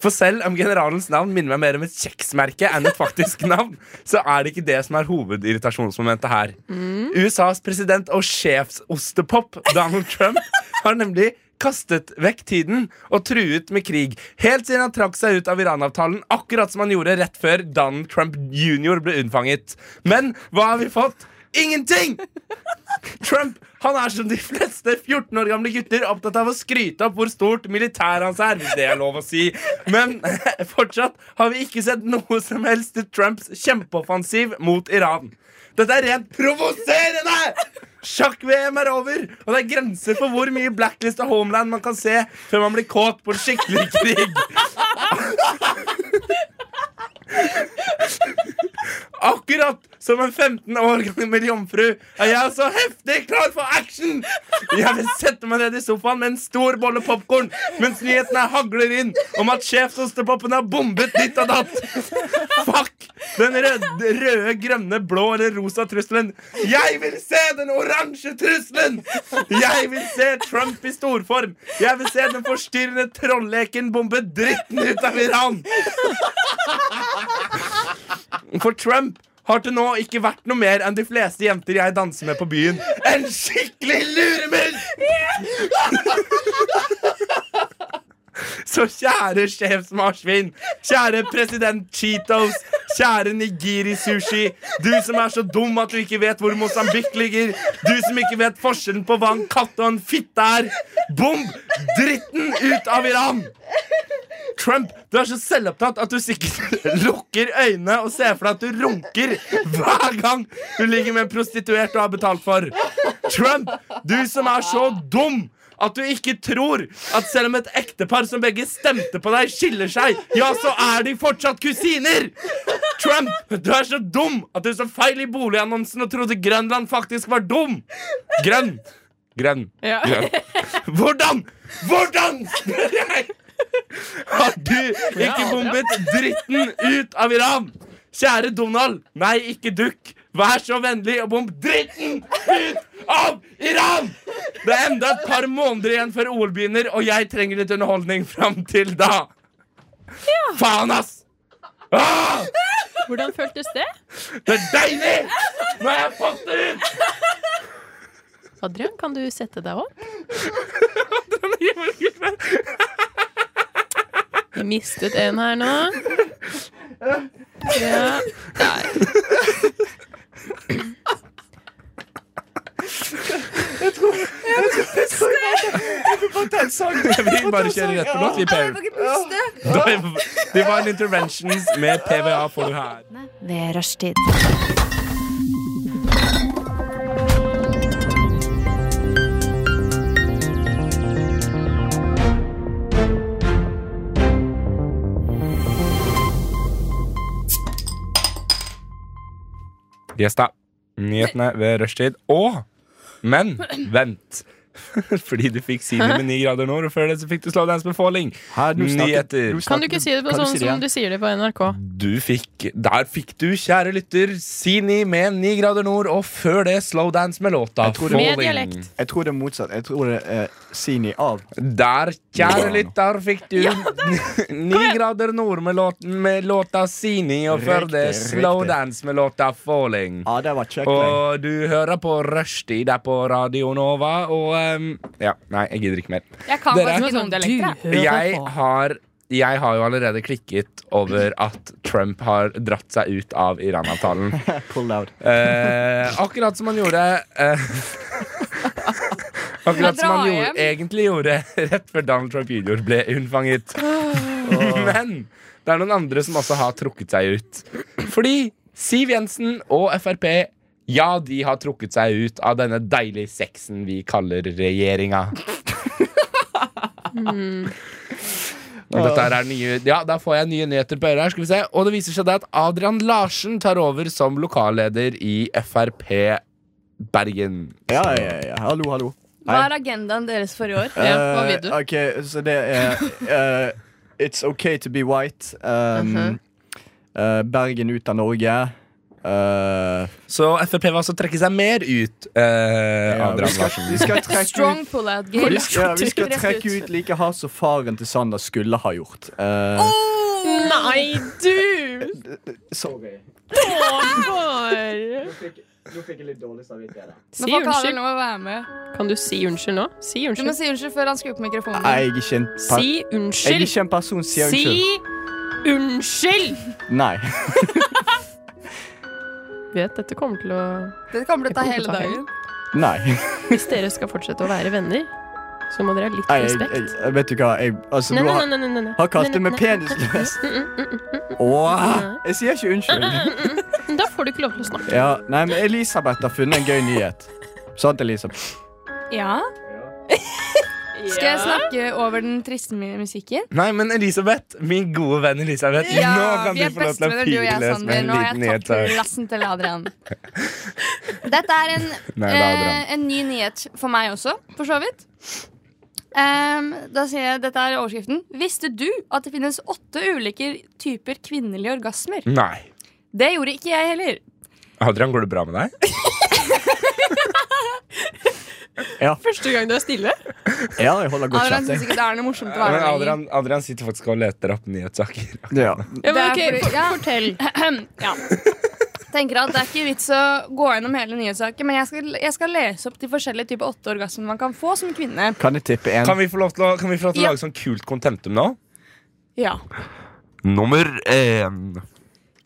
For selv om generalens navn minner meg mer om et kjeksmerke enn et faktisk navn, så er det ikke det som er hovedirritasjonsmomentet her.
Mm.
USAs president og sjefsostepop Donald Trump har nemlig kastet vekk tiden og truet med krig. Helt siden han trakk seg ut av Iran-avtalen, akkurat som han gjorde rett før Donald Trump jr. ble unnfanget. Men hva har vi fått? Ingenting! Trump han er som de fleste 14 år gamle gutter opptatt av å skryte opp hvor stort militæret hans er, hvis det er lov å si. Men fortsatt har vi ikke sett noe som helst til Trumps kjempeoffensiv mot Iran. Dette er rent provoserende! Sjakk-VM er over, og det er grenser for hvor mye blacklist og homeland man kan se før man blir kåt på en skikkelig krig. Akkurat som en 15 år gammel jomfru er jeg så heftig klar for action! Jeg vil sette meg ned i sofaen med en stor bolle popkorn mens nyhetene hagler inn om at sjefsostepopen har bombet ditt og datt. Fuck den røde, røde, grønne, blå eller rosa trusselen. Jeg vil se den oransje trusselen! Jeg vil se Trump i storform. Jeg vil se den forstyrrende trolleken bombe dritten ut av Iran. For Trump har til nå ikke vært noe mer enn de fleste jenter jeg danser med på byen. En skikkelig luremus! Så kjære sjefsmarsvin, kjære president Cheetos, kjære Nigiri-sushi, du som er så dum at du ikke vet hvor Mosambik ligger, du som ikke vet forskjellen på hva en katt og en fitte er, bomb dritten ut av Iran! Trump, du er så selvopptatt at du sikkert lukker øynene og ser for deg at du runker hver gang du ligger med en prostituert du har betalt for. Trump, du som er så dum at du ikke tror at selv om et ektepar som begge stemte på deg, skiller seg, ja, så er de fortsatt kusiner! Trump, du er så dum at du så feil i boligannonsen og trodde Grønland faktisk var dum! Grønn. Grønn.
Ja.
Grønn. Hvordan? Hvordan, spør jeg? Har du ikke bombet dritten ut av Iran? Kjære Donald, nei, ikke dukk. Vær så vennlig og bomb dritten ut av Iran! Det er enda et par måneder igjen før OL begynner, og jeg trenger litt underholdning fram til da. Faen, ass! Ah,
Hvordan føltes det?
det er deilig! Nå har jeg fått det ut!
Adrian, kan du sette deg opp? Vi mistet en her nå. Ja. Der.
Vi bare kjører rett på låt. Vi
Jeg får ikke puste.
Det- Det var en interventions med PVA får du her.
ved rushtid.
Gjesta. Nyhetene ved rushtid. Og Men vent. Fordi du fikk Simi med 9 grader nord, og før det så fikk du Slowdance med Falling.
Her, nå snakket,
Nyheter.
nå snakket-
Kan du ikke si det på
Kan du
sånn
si det
som
igjen?
du sier det på NRK?
Du fikk, der fikk du, kjære lytter, Simi med 9 grader nord, og før det Slowdance med låta
Jeg tror det-
Med
Falling.
dialekt.
Jeg tror det er motsatt. Jeg tror det er eh, Sini av.
Der, kjære lytter, fikk du 9 grader nord med, låt, med låta Simi, og før
Riktig,
det
riktig.
Slowdance med låta Falling.
Ja, Ah, det var kjekt. Og...
Og du hører på Rushtid der på Radio Nova, og ehm, Ja, nei, jeg gidder ikke mer.
Jeg kan
Dere-
faktisk ikke noen dialekter. jeg.
Jeg har jeg har jo allerede klikket over at Trump har dratt seg ut av Iran-avtalen.
Pull out.
Eh, akkurat som han gjorde eh, Akkurat som han
drar
gjorde,
hjem.
egentlig gjorde rett før Donald Trump jr. ble unnfanget. Men det er noen andre som også har trukket seg ut. Fordi Siv Jensen og Frp ja, de har trukket seg ut av denne deilige sexen vi kaller regjeringa. Og Dette her er nye, ja, da får jeg nye nyheter på øret her, skal vi se. Og det viser seg da at Adrian Larsen tar over som lokalleder i Frp Bergen.
Ja, ja, ja. Hallo, hallo.
Hva er agendaen deres for i år?
Ja, hva vil du?
Eh, ok, så det er eh, It's okay to be white. Um,
Uh-huh.
eh, Bergen ut av Norge. Eh,
Så Frp vil altså trekke seg mer ut. Eh,
ja, vi
Adrian
skal,
Larsen.
vi skal trekke ut
Strong pull-out
vi
game.
skal, ja, vi skal
Rett
trekke
ut.
ut like hardt som faren til Sander skulle ha gjort. Eh,
Nei, du!
Sorry.
Håvard!
Nå fikk jeg litt dårlig samvittighet.
Nå
Si
får ikke alle
unnskyld.
lov å være med.
Kan du si unnskyld nå? Si
Du må
unnskyld.
si unnskyld før han skrur på mikrofonen.
Jeg er ikke en, per
Si
jeg er
unnskyld.
ikke en person som sier
Si
unnskyld.
unnskyld!
Nei.
Vet dette kommer til å
Det kommer til å ta
Jeg kommer til å
hele
ta
dagen.
Nei.
Hvis dere skal fortsette å være venner, så må dere ha litt
Nei, Jeg, jeg,
respekt.
jeg, vet du hva, jeg altså,
Nei,
du
nei,
har,
nei, nei, nei, nei.
har kalt det
Nei,
med
nei,
penisløs. Åh, jeg sier ikke unnskyld.
nei. Da får du ikke lov til å snakke.
Ja, nei, men Elisabeth har funnet en gøy nyhet. Sant, Elisabeth?
Ja? Skal jeg snakke over den triste mi- musikken?
Nei, men Elisabeth, min gode venn Elisabeth, nå kan
vi
du
er
få lov til å
bestevenner, du og
fire løs
jeg,
med
Sander.
en
Nå har
liten
jeg
nyhet.
tatt plassen til Adrian. Dette er en,
Nei, det er Adrian.
eh, en ny nyhet for meg også, for så vidt. Ehm, da sier jeg, Dette er overskriften. Visste du at det finnes åtte ulike typer kvinnelige orgasmer?
Nei.
Det gjorde ikke jeg heller.
Adrian, går det bra med deg?
Første gang du er stille.
Ja, jeg holder godt
Adrian
kjeft.
syns
jeg.
ikke det er noe morsomt å
Men
være med
Adrian, Adrian sitter faktisk og leter opp nyhetssaker.
Ja.
Ja, men,
Det er
ok,
fordi-
for,
ja.
Fortell.
ja. Tenker at Det er ikke vits å gå gjennom hele nyhetssaken, men jeg skal, jeg skal lese opp de forskjellige typer åtte orgasmer man kan få som kvinne.
Kan jeg tippe en?
Kan vi få lov til å, kan vi få lov til å
Ja.
lage sånn kult kontentum nå?
Ja.
Nummer én.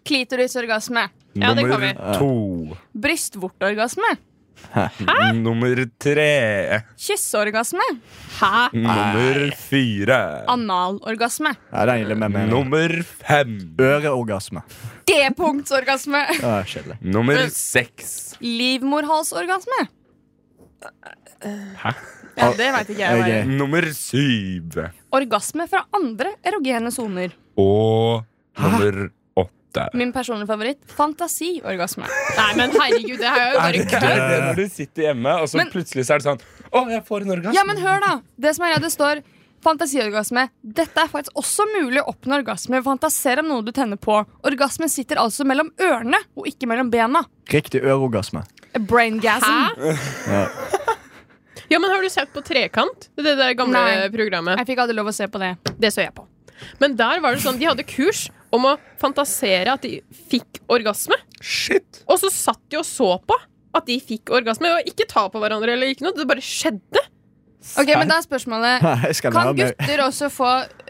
Klitorisorgasme.
Ja, det kan
Nummer
vi.
to.
Brystvorteorgasme.
Nummer tre.
Kysseorgasme.
Hæ?
Nummer fire.
Analorgasme.
Ja, den gjelder meg med. en gang.
Nummer fem.
Øreorgasme.
G-punktsorgasme.
Ja, Kjedelig.
Nummer seks.
Livmorhalsorgasme.
Hæ?
Ja, det veit ikke jeg. hva
Ok.
er.
Nummer syv.
Orgasme fra andre erogene soner.
Og nummer åtte.
Min personlige favoritt fantasiorgasme.
Nei, men herregud, det her er jo
Er
bare
det ikke det når du sitter hjemme, og så
Men-
plutselig så er det sånn Å, jeg får en orgasme.
Ja, men hør, da! Det som er, det står fantasiorgasme. Dette er faktisk også mulig å oppnå orgasme ved å fantasere om noe du tenner på. Orgasmen sitter altså mellom ørene og ikke mellom bena.
Riktig øreorgasme.
Braingasm.
Hæ? Ja, men har du sett på Trekant? Det der gamle
Nei.
programmet.
Jeg fikk aldri lov å se på det.
Det så jeg på. Men der var det sånn, de hadde kurs om å fantasere at de fikk orgasme.
Shit.
Og så satt de og så på at de fikk orgasme. Og ikke ta på hverandre eller ikke noe. Det bare skjedde.
Ok, men da er spørsmålet
Ja, Jeg skal
Kan
lære meg
gutter også få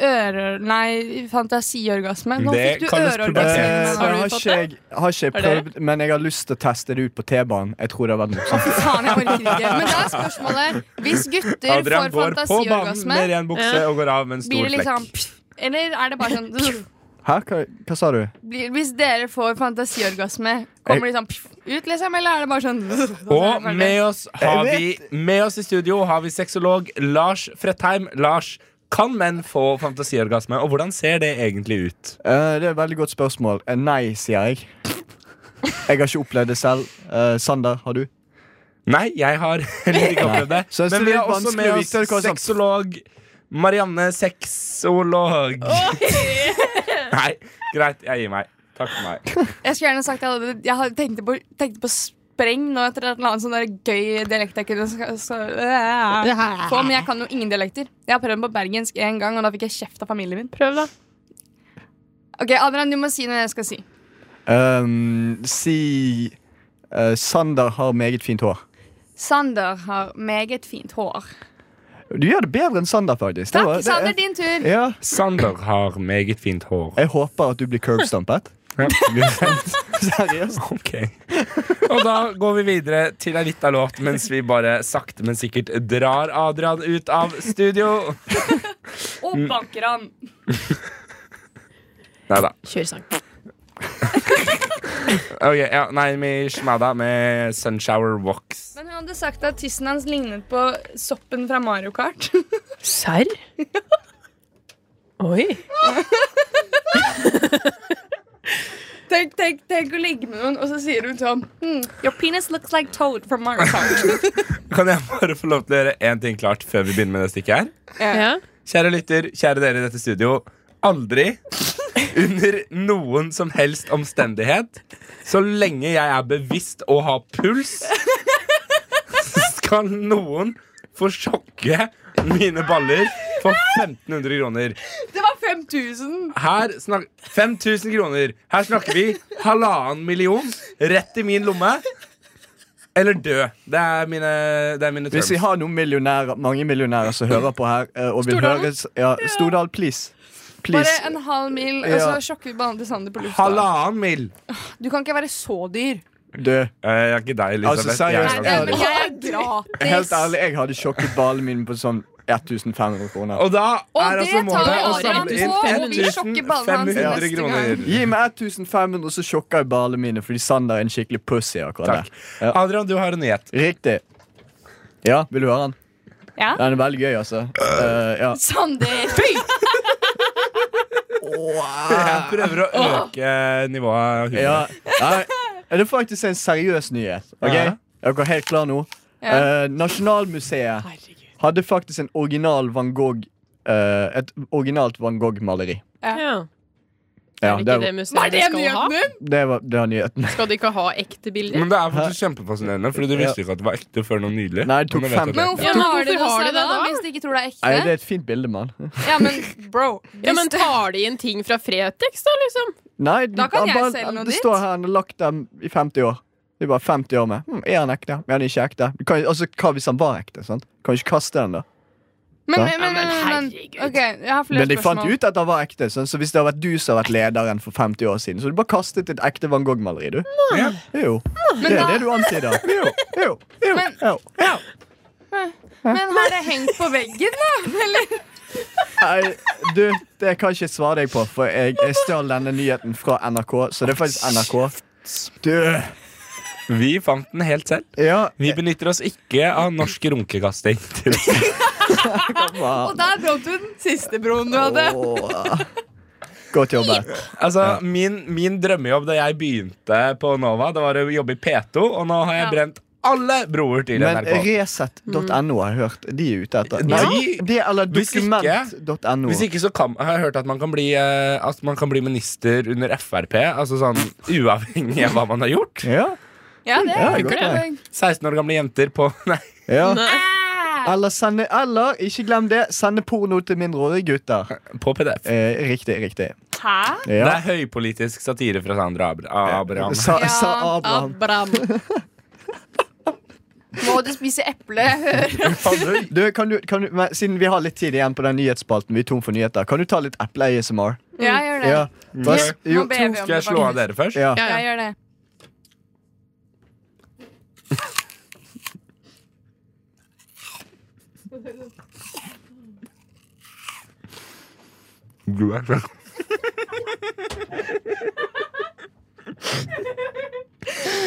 øre... Nei, fantasiorgasme? Nå
Det
fikk du
kalles
Eh,
øreorgasme.
pubertet.
har,
Har du
ikke
fått
jeg, har ikke jeg
Har dere?
prøvd, men jeg har lyst til å teste det ut på T-banen. Jeg tror det har vært
Å,
morsomt.
fy faen, jeg orker ikke. Men da er spørsmålet Hvis gutter
Adrian går
får
på banen
fantasiorgasme,
med ren bukse og går av med en
blir
stor
det liksom
flekk.
Eller er det bare sånn
Hæ? Hva, hva sa du?
blir, Hvis dere får fantasiorgasme, kommer de sånn pff, ut, liksom? Eller er det bare sånn
Og med oss, har
Jeg
vi, med oss i studio har vi sexolog Lars Frettheim. Lars, kan menn få fantasiorgasme, og hvordan ser det egentlig ut?
Eh, det er et veldig godt spørsmål. Eh, nei, sier jeg. Jeg har ikke opplevd det selv. Eh, Sander, har du?
Nei, jeg har heller ikke opplevd det.
Så jeg synes
Men
det
vi
er
har også
vanskelig
med
å
oss
vite hva som-
sexolog Marianne Sexolog. Nei, greit. Jeg gir meg. Takk for meg.
Jeg skulle gjerne sagt at jeg, hadde, jeg hadde- tenkte, på, tenkte på spreng nå etter et eller annet sånn der gøy dialekt jeg kunne sk- så- Få, men jeg kan jo ingen dialekter. Jeg har prøvd den på bergensk én gang, og da fikk jeg kjeft av familien min.
Prøv, da.
Ok, Adrian, du må si noe jeg skal si.
Ehm, si eh, Sander har meget fint hår.
Sander har meget fint hår.
Du gjør det bedre enn Sander, faktisk. Det var-
Takk,
det er-
Sander, din tur.
Ja.
Sander har meget fint hår.
Jeg håper at du blir curbstumpet.
Ja,
Seriøst.
ok. Og da går vi videre til ei lita låt mens vi bare sakte, men sikkert drar Adrian ut av studio.
Og banker han.
Nei da.
Kjør sang.
Ok, ja, nei, vi smada med Sunshower Walks.
Men hun hadde sagt at tissen hans lignet på soppen fra Mario Kart.
Serr? Oi.
Tenk, tenk, tenk å ligge med noen, og så sier hun sånn hmm, Your penis looks like Toad from Mario Kart.
Kan jeg bare få lov til å gjøre én ting klart før vi begynner med det stikket her?
Ja.
Kjære lytter, kjære dere i dette studio. Aldri, under noen som helst omstendighet, så lenge jeg er bevisst og har puls, skal noen få sjokke mine baller for 1500 kroner.
Det var 5000.
Her snak 5000 kroner. Her snakker vi halvannen million rett i min lomme. Eller dø. Det er mine, det er mine
Hvis vi
terms.
har noen millionærer, mange millionærer som hører på her eh, og vil
Stordalen.
høres ja, Stordal, please. Please.
Bare en halv mil, og så
Ja.
sjokker vi behandler Sander på lufta.
Halvannen mil.
Du kan ikke være så dyr.
Dø.
Eh, Jeg er ikke deg, Elisabeth.
Altså, seriøst,
Jeg er
Nei,
Elisabeth.
nei, men
jeg er gratis.
Helt ærlig, jeg hadde sjokket ballen min på sånn 1500 kroner.
Og da
Og
er
det
altså målet
tar
å
Adrian
samle
på,
og vi
inn
sjokker ballen hans
1500
neste
kroner.
gang.
Gi meg 1500, så sjokker jeg ballene mine fordi Sander er en skikkelig pussy akkurat
Takk.
der.
Adrian, du har en nyhet.
Riktig. Ja, vil du høre den?
Ja.
Den er veldig gøy, altså.
Øh.
Eh, ja.
Sander!
Jeg prøver å øke nivået av
ja.
humor.
Nei, er det er faktisk en seriøs nyhet. Ok?
Ja.
Er dere helt klar nå? Eh, Nasjonalmuseet hadde faktisk en original Van Gogh eh, et originalt Van Gogh-maleri.
ja.
Ja,
Er det
det,
ikke det museet
Var det
skal ha?
nyheten din?
det var, det var nyheten.
Skal de ikke ha ekte bilder?
Men det er faktisk kjempefascinerende, Fordi du visste ikke at det var ekte før nå nylig.
Nei, det tok
Og nå vet jeg
fem-
det.
Men hvorfor
Ja, men
har de
hvorfor
det hos
har de
seg
det
da,
da?
hvis de ikke tror det er ekte?
Nei, det er et fint bilde, mann.
Ja, men bro
Ja, men Tar de inn ting fra Fretex, da, liksom?
Nei,
Da kan
han
jeg
bare-
selge noe
Det
dit.
står her, han har lagt dem i 50 år. Det er bare 50 år med. Hm, er han ekte? Er han ikke ekte? Du kan, altså, hva hvis han var ekte? Sant? Kan du ikke kaste den, da?
Men,
Ja.
men, men, men, men,
herregud.
Ok, jeg har flere
Men de fant
spørsmål.
ut at han var ekte, sant? så hvis det har vært du som har vært lederen for 50 år siden, så har du bare kastet et ekte Van Gogh-maleri, du.
Ja.
Jo. Det er
da-
det du antyder. Jo. Jo. Jo.
Men-
jo.
Men har det hengt på veggen, da? Eller?
Nei, du, det kan ikke jeg svare deg på, for jeg, jeg stjal denne nyheten fra NRK, så det er faktisk NRK. Du.
Vi fant den helt selv.
Ja.
Vi benytter oss ikke av norsk runkekasting.
Og der brant du den siste broen du hadde.
Åh. Godt jobbet.
Altså, min, min drømmejobb da jeg begynte på Nova, Det var å jobbe i P2, og nå har jeg
Ja.
brent alle broer til
Men
NRK.
Resett.no har jeg hørt. De er ute etter.
Ja.
Nei, det eller
Hvis ikke-
dokument.no.
Hvis ikke så kan, har jeg hørt at man kan bli, eh, at man kan bli minister under Frp. Altså sånn uavhengig av hva man har gjort.
Ja,
Ja, det
ja,
er
godt det.
16 år gamle jenter på Nei.
Ja.
Nei.
Ah!
Eller, sende, eller, ikke glem det, sende porno til mindreårige gutter.
På PDF.
Eh, riktig, riktig.
Hæ?
Det
Ja.
er høypolitisk satire fra Sandra Abra Abraham.
Sa,
Ja. Ah.
sa Abraham.
Abraham.
Må du spise eple? Jeg hører
Du, kan du, kan du, men, siden vi har litt tid igjen på den nyhetsspalten, vi er tom for nyheter, kan du ta litt eple-ASMR?
Ja, Mm. jeg gjør det.
Ja. Bare-
Nå
Jo,
ber vi om
Skal jeg
det,
slå av
faktisk.
dere først?
ja.
Ja,
Ja,
ja.
jeg gjør det.
Du er så-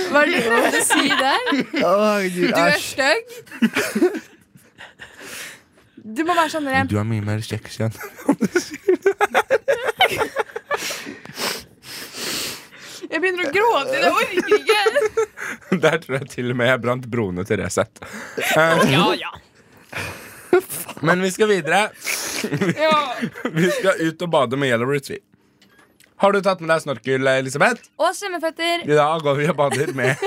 Hva er det du måtte si der?
Å, herregud,
Du er
æsj.
stygg. Du må være sånn rem.
Du er mye mer kjekk kjønn.
Jeg begynner å gråte. Jeg orker ikke.
Der tror jeg til og med jeg brant broene til Resett.
ja, ja.
Men vi skal videre.
Ja.
Vi skal ut og bade med Yellow Retreat. Har du tatt med deg snorkel, Elisabeth?
Og svømmeføtter.
I dag går vi og bader med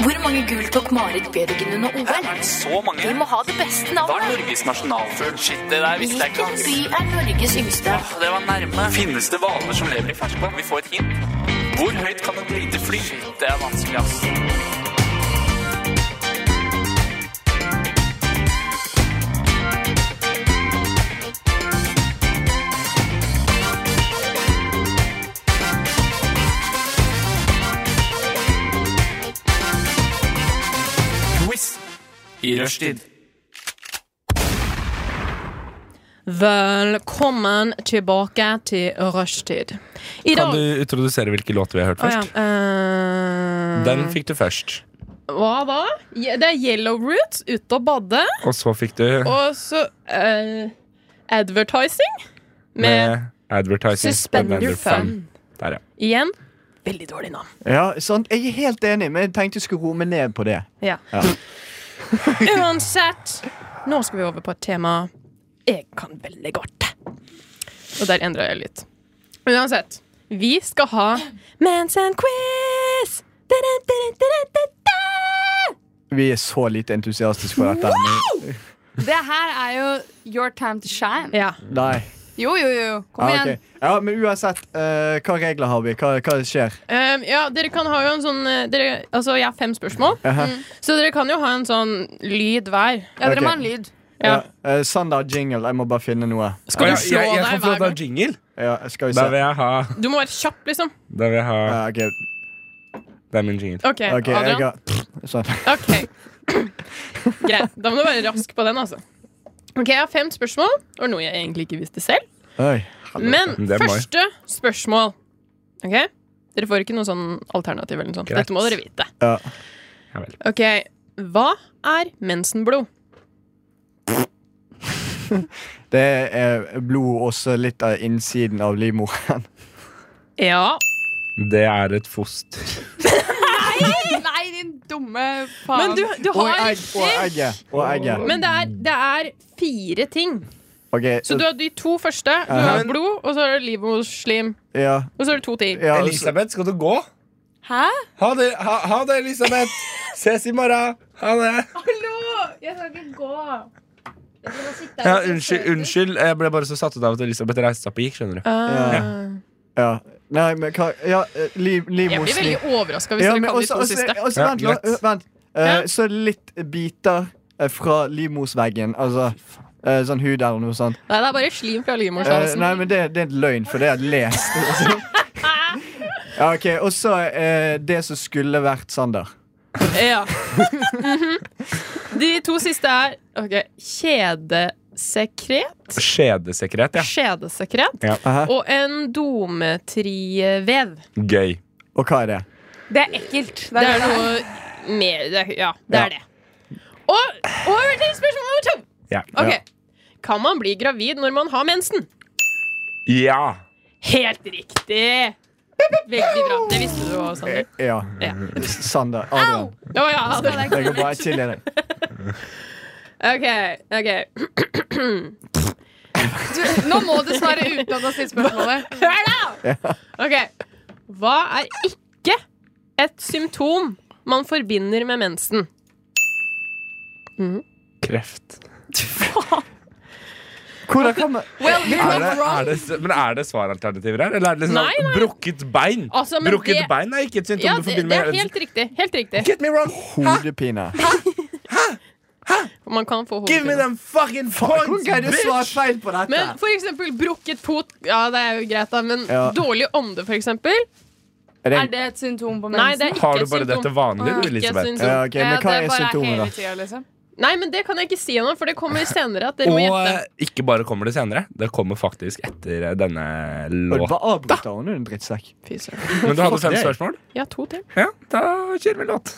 Hvor mange gull tok Marit Bjørgen under OL?
Så mange.
Vi må ha det beste
Hva er
navnet.
Norges nasjonalfugl? Shit, det der visste jeg
Hvilken by
ikke.
er Norges yngste?
Altså, Det var nærme. Finnes det hvaler som lever i ferskvann? Vi får et hint. Hvor høyt kan et lite fly? Shit, det er vanskelig, ass. I rushtid.
Velkommen tilbake til rushtid. I
Kan
dag
du introdusere hvilke låter vi har hørt
Å ja,
først?
eh,
Den fikk du først.
Hva da? Je- Det er Yellow Roots, ute og bade.
Og så fikk du
Og så eh, Advertising med,
med Advertising
Suspend your fun.
Der, ja.
Igjen veldig dårlig navn.
Ja, sant? Jeg er helt enig, men jeg tenkte jeg skulle roe meg ned på det.
Ja.
Ja.
Uansett, nå skal vi over på et tema jeg kan veldig godt. Og der endra jeg litt. Uansett, vi skal ha Manson-quiz!
Vi er så lite entusiastiske for dette. men-
Det her er jo your time to shine.
Ja.
Nei.
Jo, jo, jo. Kom
Ja,
igjen.
Ah, ok. ja, men uansett, eh, hva regler har vi? Hva, hva skjer?
Um, ja, dere kan ha jo en sånn eh, dere, Altså, jeg har fem spørsmål, Mm.
Aha.
så dere kan jo ha en sånn lyd hver.
Ja, dere
Ok.
må ha en lyd.
Ja.
eh, Sander jingle. Jeg må bare finne noe.
Skal
Å,
du
ja,
slå
jeg, jeg
deg
kan få
hver
da
gang?
jingle.
Ja, skal vi
Da vil
se.
jeg ha,
Du må være kjapp, liksom.
da vil jeg ha
Ja, ok,
Det er min jingle.
OK,
ok, jeg
Adrian.
har Sånn.
Ok Greit, da må du være rask på den altså Ok, jeg har fem spørsmål Det var noe jeg egentlig ikke visste selv
Oi.
Men
Det er meg.
første spørsmål Ok, dere får ikke noe sånn alternativ eller noe sånt
Greit.
Dette må dere vite
Ja.
Ja vel.
Ok, hva er mensenblod?
Det er blod også litt av innsiden av livmoren.
Ja,
Det er et foster.
Nei, din dumme faen.
men du, du
Og
har
egg. Og egget. Og egget.
Men det er, det er fire ting
Ok,
Så du har de to første Du
Ja.
har blod, og så har du livmorslim
ja,
Og så har du to til
ja, så-
Elisabeth, skal du gå?
Hæ?
Ha det, ha, ha det Elisabeth! Ses i morgen! Ha det!
Hallo! Jeg skal ikke gå. Jeg skal bare sitte
Ja, unnskyld, unnskyld. Jeg ble bare så satt ut av at Elisabeth reiste seg opp og gikk. skjønner du
Ah.
ja. Nei, men hva Ja, eh, liv,
Jeg blir
livmorslim.
veldig overrasket hvis
Ja,
dere
men
kan de
også,
to
også,
siste
også,
Ja,
vent, la,
greit.
vent. Eh,
Ja.
Så litt biter eh, fra livmorsveggen. Altså eh, sånn hud eller noe sånt.
Nei, det er bare slim fra
Eh,
livmorshalsen.
nei, men det, det er en løgn, for det er lest. liksom. ja, ok, Og så eh, det som skulle vært Sander.
Ja. Mhm. De to siste er ok, kjedesekret.
Skjedesekret, ja.
Skjedesekret.
Aha.
Og endometrievev.
Gøy.
Og hva er det?
Det er ekkelt.
Det er noe mer det, er- Ja, det
Ja.
er det. Og over til spørsmål nummer to.
Ja.
Ok. Kan man bli gravid når man har mensen?
ja.
Helt riktig! Veldig bra. Det visste du òg, Sander.
Eh, Ja.
Ja.
Sander. Adrian.
Å, ja, det-
Det går bra. Chill i deg.
ok, ok.
Du, nå må du svare uten at du har stilt spørsmålet.
Hør da! Ok, Hva er ikke et symptom man forbinder med mensen? Mhm.
Kreft.
Hvordan kan man
Well, you
Er
were
det,
wrong.
er det, men er det svaralternativer her? Eller er det liksom
Nei, nei.
brukket bein?
Altså, men
brukket
det-
bein er ikke et symptom
Ja,
du
det,
forbinder
det er
med
helt riktig. Helt riktig.
Get me wrong!
Hodepine.
Man kan få
Give me
hodepine.
them fucking points,
Hvordan kan du svare
bitch!
feil på dette?
Men for eksempel brukket fot Ja, det er jo greit, da, men
Ja.
dårlig ånde, for eksempel.
Er det
Er det et symptom på mensen?
Nei, det er ikke
Har du
et
bare
symptom.
dette vanlig, du,
Ikke et
Elisabeth?
symptom.
ja, ok,
Ja,
men
det
hva er
bare
symptomene,
hele
da?
tida, liksom.
Nei, men det kan jeg ikke si ennå, for det kommer senere. At dere må
Og
gjette.
eh, ikke bare kommer det senere, det kommer faktisk etter eh, denne
Og
låten.
Hva avbryter hun, hun drittsekk?
Fy søren.
Men du hadde fem
det?
spørsmål?
Ja, to til.
Ja, da kjører vi låt.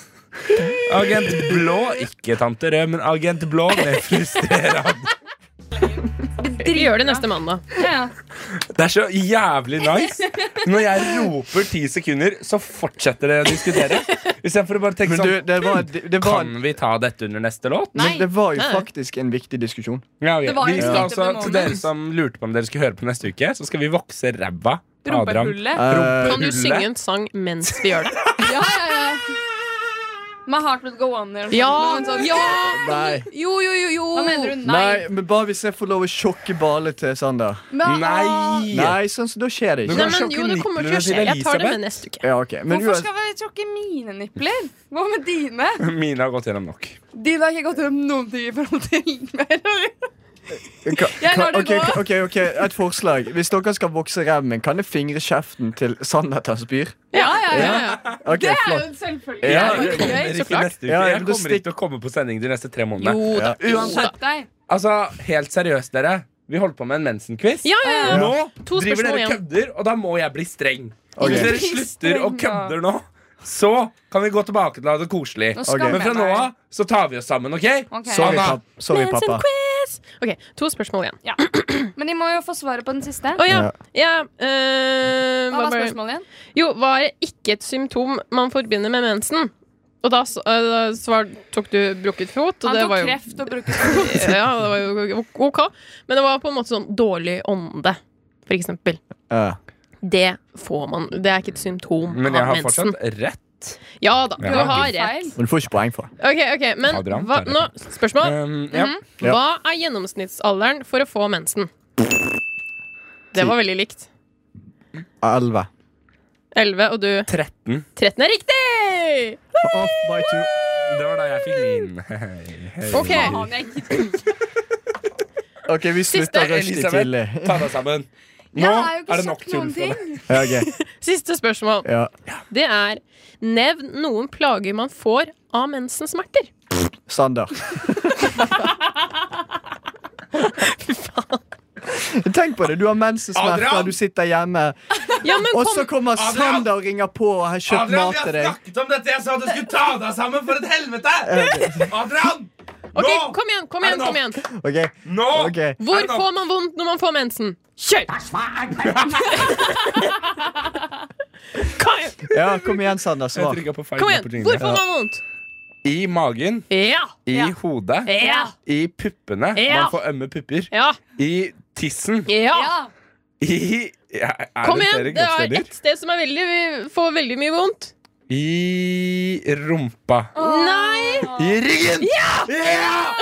Agent Blå, ikke Tante Rød, men Agent Blå med frustrerende.
Vi gjør det neste mandag.
Ja, ja.
Det er så jævlig nice. Når jeg roper ti sekunder, så fortsetter det å diskutere. Istedenfor å bare tenke
Men du,
sånn
det var, det, det var,
Kan vi ta dette under neste låt?
men det var jo
Nei.
faktisk en viktig diskusjon.
Ja, ok.
Det var jo
Vi skal altså,
litt up the
til
moment.
dere som lurte på om dere skulle høre på neste uke, så skal vi vokse ræva. av Adrian.
Rumpehullet.
Eh,
Kan du
Hullet.
synge en sang mens vi gjør det?
Ja, ja, ja. My heart will go on. eller
sånn- Ja,
noe sånt. sånn-
nei.
Jo, jo, jo, jo.
Hva mener du? Nei.
Nei, men bare hvis jeg får lov å sjokke bale til Sander.
Men-
Nei!
Nei, sånn så da skjer det
Men
ikke.
Nei, men jo, det kommer til å
Sjokkeniplene til
skje. Jeg tar det
Elisabeth.
med neste uke.
Ja, ok, men
Hvorfor
uansett-
skal vi tråkke mine nipler? Hva med dine?
Mine har gått gjennom nok.
Dine har ikke gått gjennom noen ting i forhold til meg.
Ka-
Jeg lar
ka-
det
ok,
gå.
ka- ok, ok, Et forslag. Hvis dere skal vokse remmen, kan jeg fingre kjeften til Sander Tasbyr?
Ja, ja, ja, ja.
Ok,
Det er jo
flott.
en selvfølge.
Ja,
Det
jeg
er jo
kommer
gøy.
ikke neste uke.
Ja,
Jeg
men du
kommer ikke til å komme på sending de neste tre månedene.
Jo da. Jo da.
Skjerp deg.
Altså, Helt seriøst, dere. Vi holdt på med en mensenquiz.
Ja, ja, ja.
Nå
To
driver
spørsmål
dere
igjen.
kødder, og da må jeg bli streng.
Ok.
Hvis dere
Bli
slutter å
streng, da.
kødder nå, så kan vi gå tilbake til å ha det koselig.
Nå sånn.
Ok.
skammer
Men fra
jeg
nå
meg.
av så tar vi oss sammen, OK?
Ok.
Sorry,
Anna.
pap sorry pappa.
Mensenquiz! Ok, to spørsmål igjen.
Men de må jo få svaret på den siste.
Å ja.
Ja.
ja eh,
Hva var
bare-
spørsmålet igjen?
Jo, var ikke et symptom man forbinder med mensen? Og da, s- eh, da svar, tok du brukket fot. Og
Han
det
tok
var jo,
kreft og brukte
Ja, det var jo ok. Men det var på en måte sånn dårlig ånde, for eksempel.
Ja.
Det får man. Det er ikke et symptom
Men jeg
av
har
mensen.
fortsatt rett.
Ja da,
Ja.
du har rett.
feil.
Men du får ikke poeng for det.
Ok, ok, men
Adrian
hva,
tar rett.
nå, spørsmål.
Um, ja.
Ja.
Hva er gjennomsnittsalderen for å få mensen? Det var veldig likt.
Elleve.
11, og du
13.
13 er riktig!
Off by two.
Det var da jeg fikk min. eh,
Ok,
Faen, jeg gidder ikke.
Ok, vi slutter rushtid tidlig.
Elisabeth, ta deg sammen. Nå
Jeg har jo ikke
er det nok
sagt
tull
noen
for deg.
ting.
Ja, ok.
Siste spørsmål.
ja.
Det er Nevn noen plager man får av mensensmerter.
Sander. Tenk på det. Du har mensensmerter,
Adrian!
du sitter hjemme,
Ja, men
og
kom,
så kommer
Adrian!
Sander og ringer på og har kjøpt
Adrian,
mat
vi
til
har
deg.
snakket om dette! Jeg sa at du skulle ta deg sammen! For et helvete! Adrian!
ok,
Nå!
kom igjen, kom
Er det
igjen, kom igjen!
Ok,
Nå!
ok
Hvor
Er det nok?
får man vondt når man får mensen? Kjør! Kom igjen!
Ja, Kom igjen, Sander.
Jeg
Svar.
trykket på feil
Kom
knapp på
igjen.
jinglen.
Hvor får man vondt?
I magen,
Ja!
i
Ja.
hodet,
Ja!
i puppene
Ja.
Man får ømme pupper.
Ja!
I tissen.
ja.
Ja.
I ja, Er
Kom
det
igjen!
flere
Det er
kroppsdeler?
ett sted som er veldig, får veldig mye vondt.
I rumpa.
Nei!
I ryggen! Ja!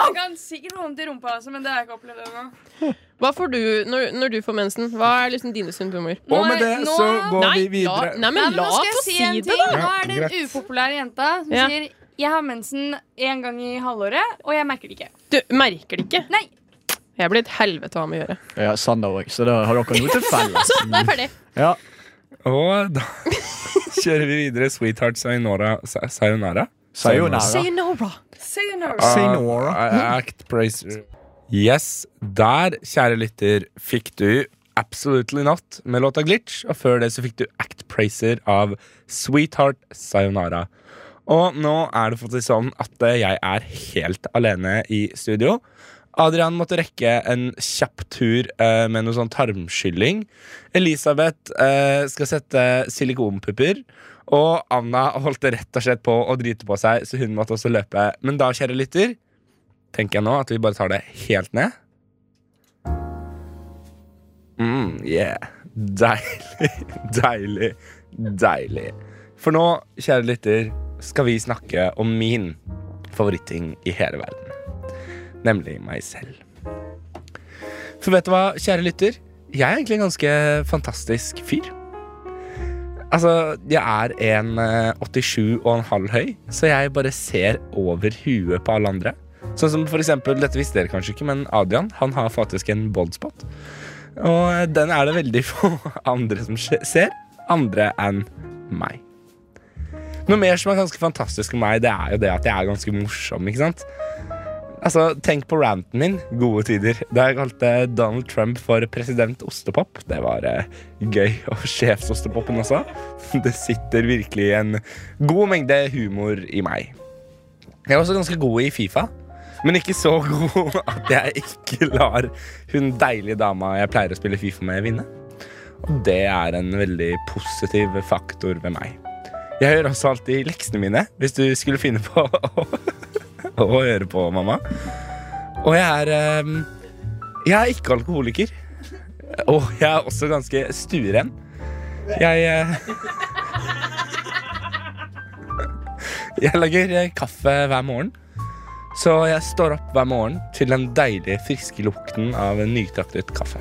Jeg kan sikkert få vondt i rumpa, altså, men det har jeg ikke opplevd ennå.
Hva får du når, når du får mensen? Hva er liksom dine symptomer?
Og med det
Nå-
så går vi
Nei, la,
videre.
nei
Nei,
men
men
la
nå skal jeg
oss
si
si
en
det,
ting.
da!
Nå er det
Ja,
en
greit.
upopulær jente som
Ja.
sier jeg har mensen én gang i halvåret, og jeg merker det ikke.
Du merker det ikke.
Nei,
Jeg blir et helvete å ha med å gjøre.
Ja, Sander òg, så da har dere noe til felles.
Så, da er jeg ferdig.
Ja.
Og da kjører vi videre Sweetheart Sayonara. Sa- Sayonara?
Sayonara.
Sayonara.
sayonara.
Sayonara.
Ah, Act Praiser. Yes, der, kjære lytter, fikk du Absolutely Not med låta Glitch. Og før det så fikk du Act Praiser av Sweetheart Sayonara. Og nå er det faktisk sånn at eh, jeg er helt alene i studio. Adrian måtte rekke en kjapp tur eh, med noe sånn tarmskylling. Elisabeth eh, skal sette silikonpupper. Og Anna holdt rett og slett på å drite på seg, så hun måtte også løpe. Men da, kjære lytter, tenker jeg nå at vi bare tar det helt ned. Mm, yeah. Deilig, deilig, deilig. For nå, kjære lytter, skal vi snakke om min favoritting i hele verden. Nemlig meg selv. For vet du hva, kjære lytter? Jeg er egentlig en ganske fantastisk fyr. Altså, jeg er en eh, 87 og en halv høy, så jeg bare ser over huet på alle andre. Sånn som for eksempel, dette visste dere kanskje ikke, men Adrian, han har faktisk en boldspot. Og eh, den er det veldig få andre som skje- ser, andre enn meg. Noe mer som er ganske fantastisk med meg, det er jo det at jeg er ganske morsom, ikke sant? Altså, Tenk på ranten min. Gode tider. Da jeg kalte Donald Trump for president ostepop. Det var eh, gøy. Og sjefsostepopen også. Det sitter virkelig en god mengde humor i meg. Jeg er også ganske god i Fifa. Men ikke så god at jeg ikke lar hun deilige dama jeg pleier å spille Fifa med, vinne. Og det er en veldig positiv faktor ved meg. Jeg gjør også alltid leksene mine, hvis du skulle finne på å å høre på, mamma. Og jeg er eh, Jeg er ikke alkoholiker. Og jeg er også ganske stueren. Jeg eh, Jeg lager eh, kaffe hver morgen. Så jeg står opp hver morgen til den deilige, friske lukten av en nytraktet kaffe.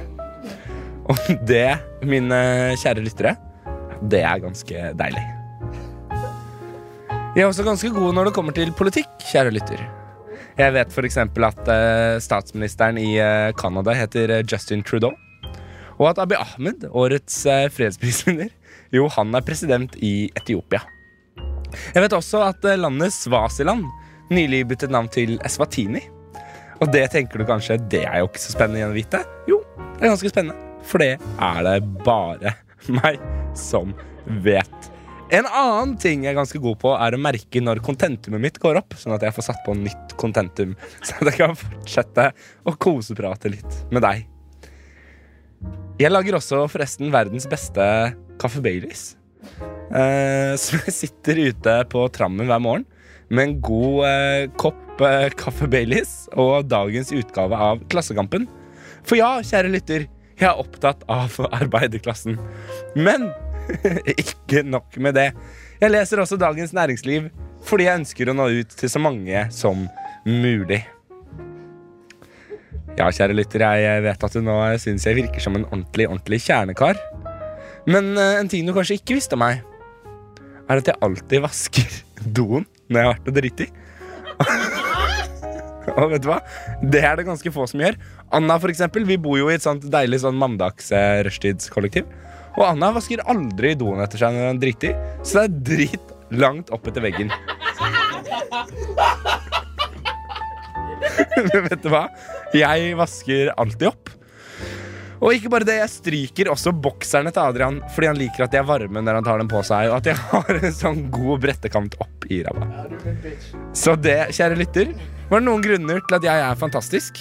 Og det, mine kjære lyttere, det er ganske deilig. Jeg er også ganske god når det kommer til politikk, kjære lytter. Jeg vet f.eks. at eh, statsministeren i eh, Canada heter eh, Justin Trudeau. Og at Abiy Ahmed, årets eh, fredsprisvinner, jo, han er president i Etiopia. Jeg vet også at eh, landet Svasiland nylig byttet navn til Eswatini. Og det tenker du kanskje, det er jo ikke så spennende å vite. Jo, det er ganske spennende. For det er det bare meg som vet. En annen ting jeg er ganske god på, er å merke når kontentumet mitt går opp. Sånn at jeg får satt på nytt kontentum. Så at jeg kan fortsette å koseprate litt med deg. Jeg lager også forresten verdens beste kaffe Baileys. Eh, som jeg sitter ute på trammen hver morgen med en god eh, kopp eh, kaffe Baileys og dagens utgave av Klassekampen. For ja, kjære lytter, jeg er opptatt av arbeiderklassen. Men ikke nok med det. Jeg leser også Dagens Næringsliv fordi jeg ønsker å nå ut til så mange som mulig. Ja, kjære lytter, jeg vet at du nå syns jeg virker som en ordentlig, ordentlig kjernekar. Men eh, en ting du kanskje ikke visste om meg, er at jeg alltid vasker doen når jeg har vært og driti. Og vet du hva? Det er det ganske få som gjør. Anna for eksempel, vi bor jo i et sånt deilig sånn mandags-rushtidskollektiv. Og Anna vasker aldri doen etter seg når hun driter, så det er drit langt opp etter veggen. Men vet du hva? Jeg vasker alltid opp. Og ikke bare det, jeg stryker også bokserne til Adrian fordi han liker at de er varme når han tar dem på seg, og at jeg har en sånn god brettekant opp i ræva. Så det, kjære lytter, var noen grunner til at jeg er fantastisk.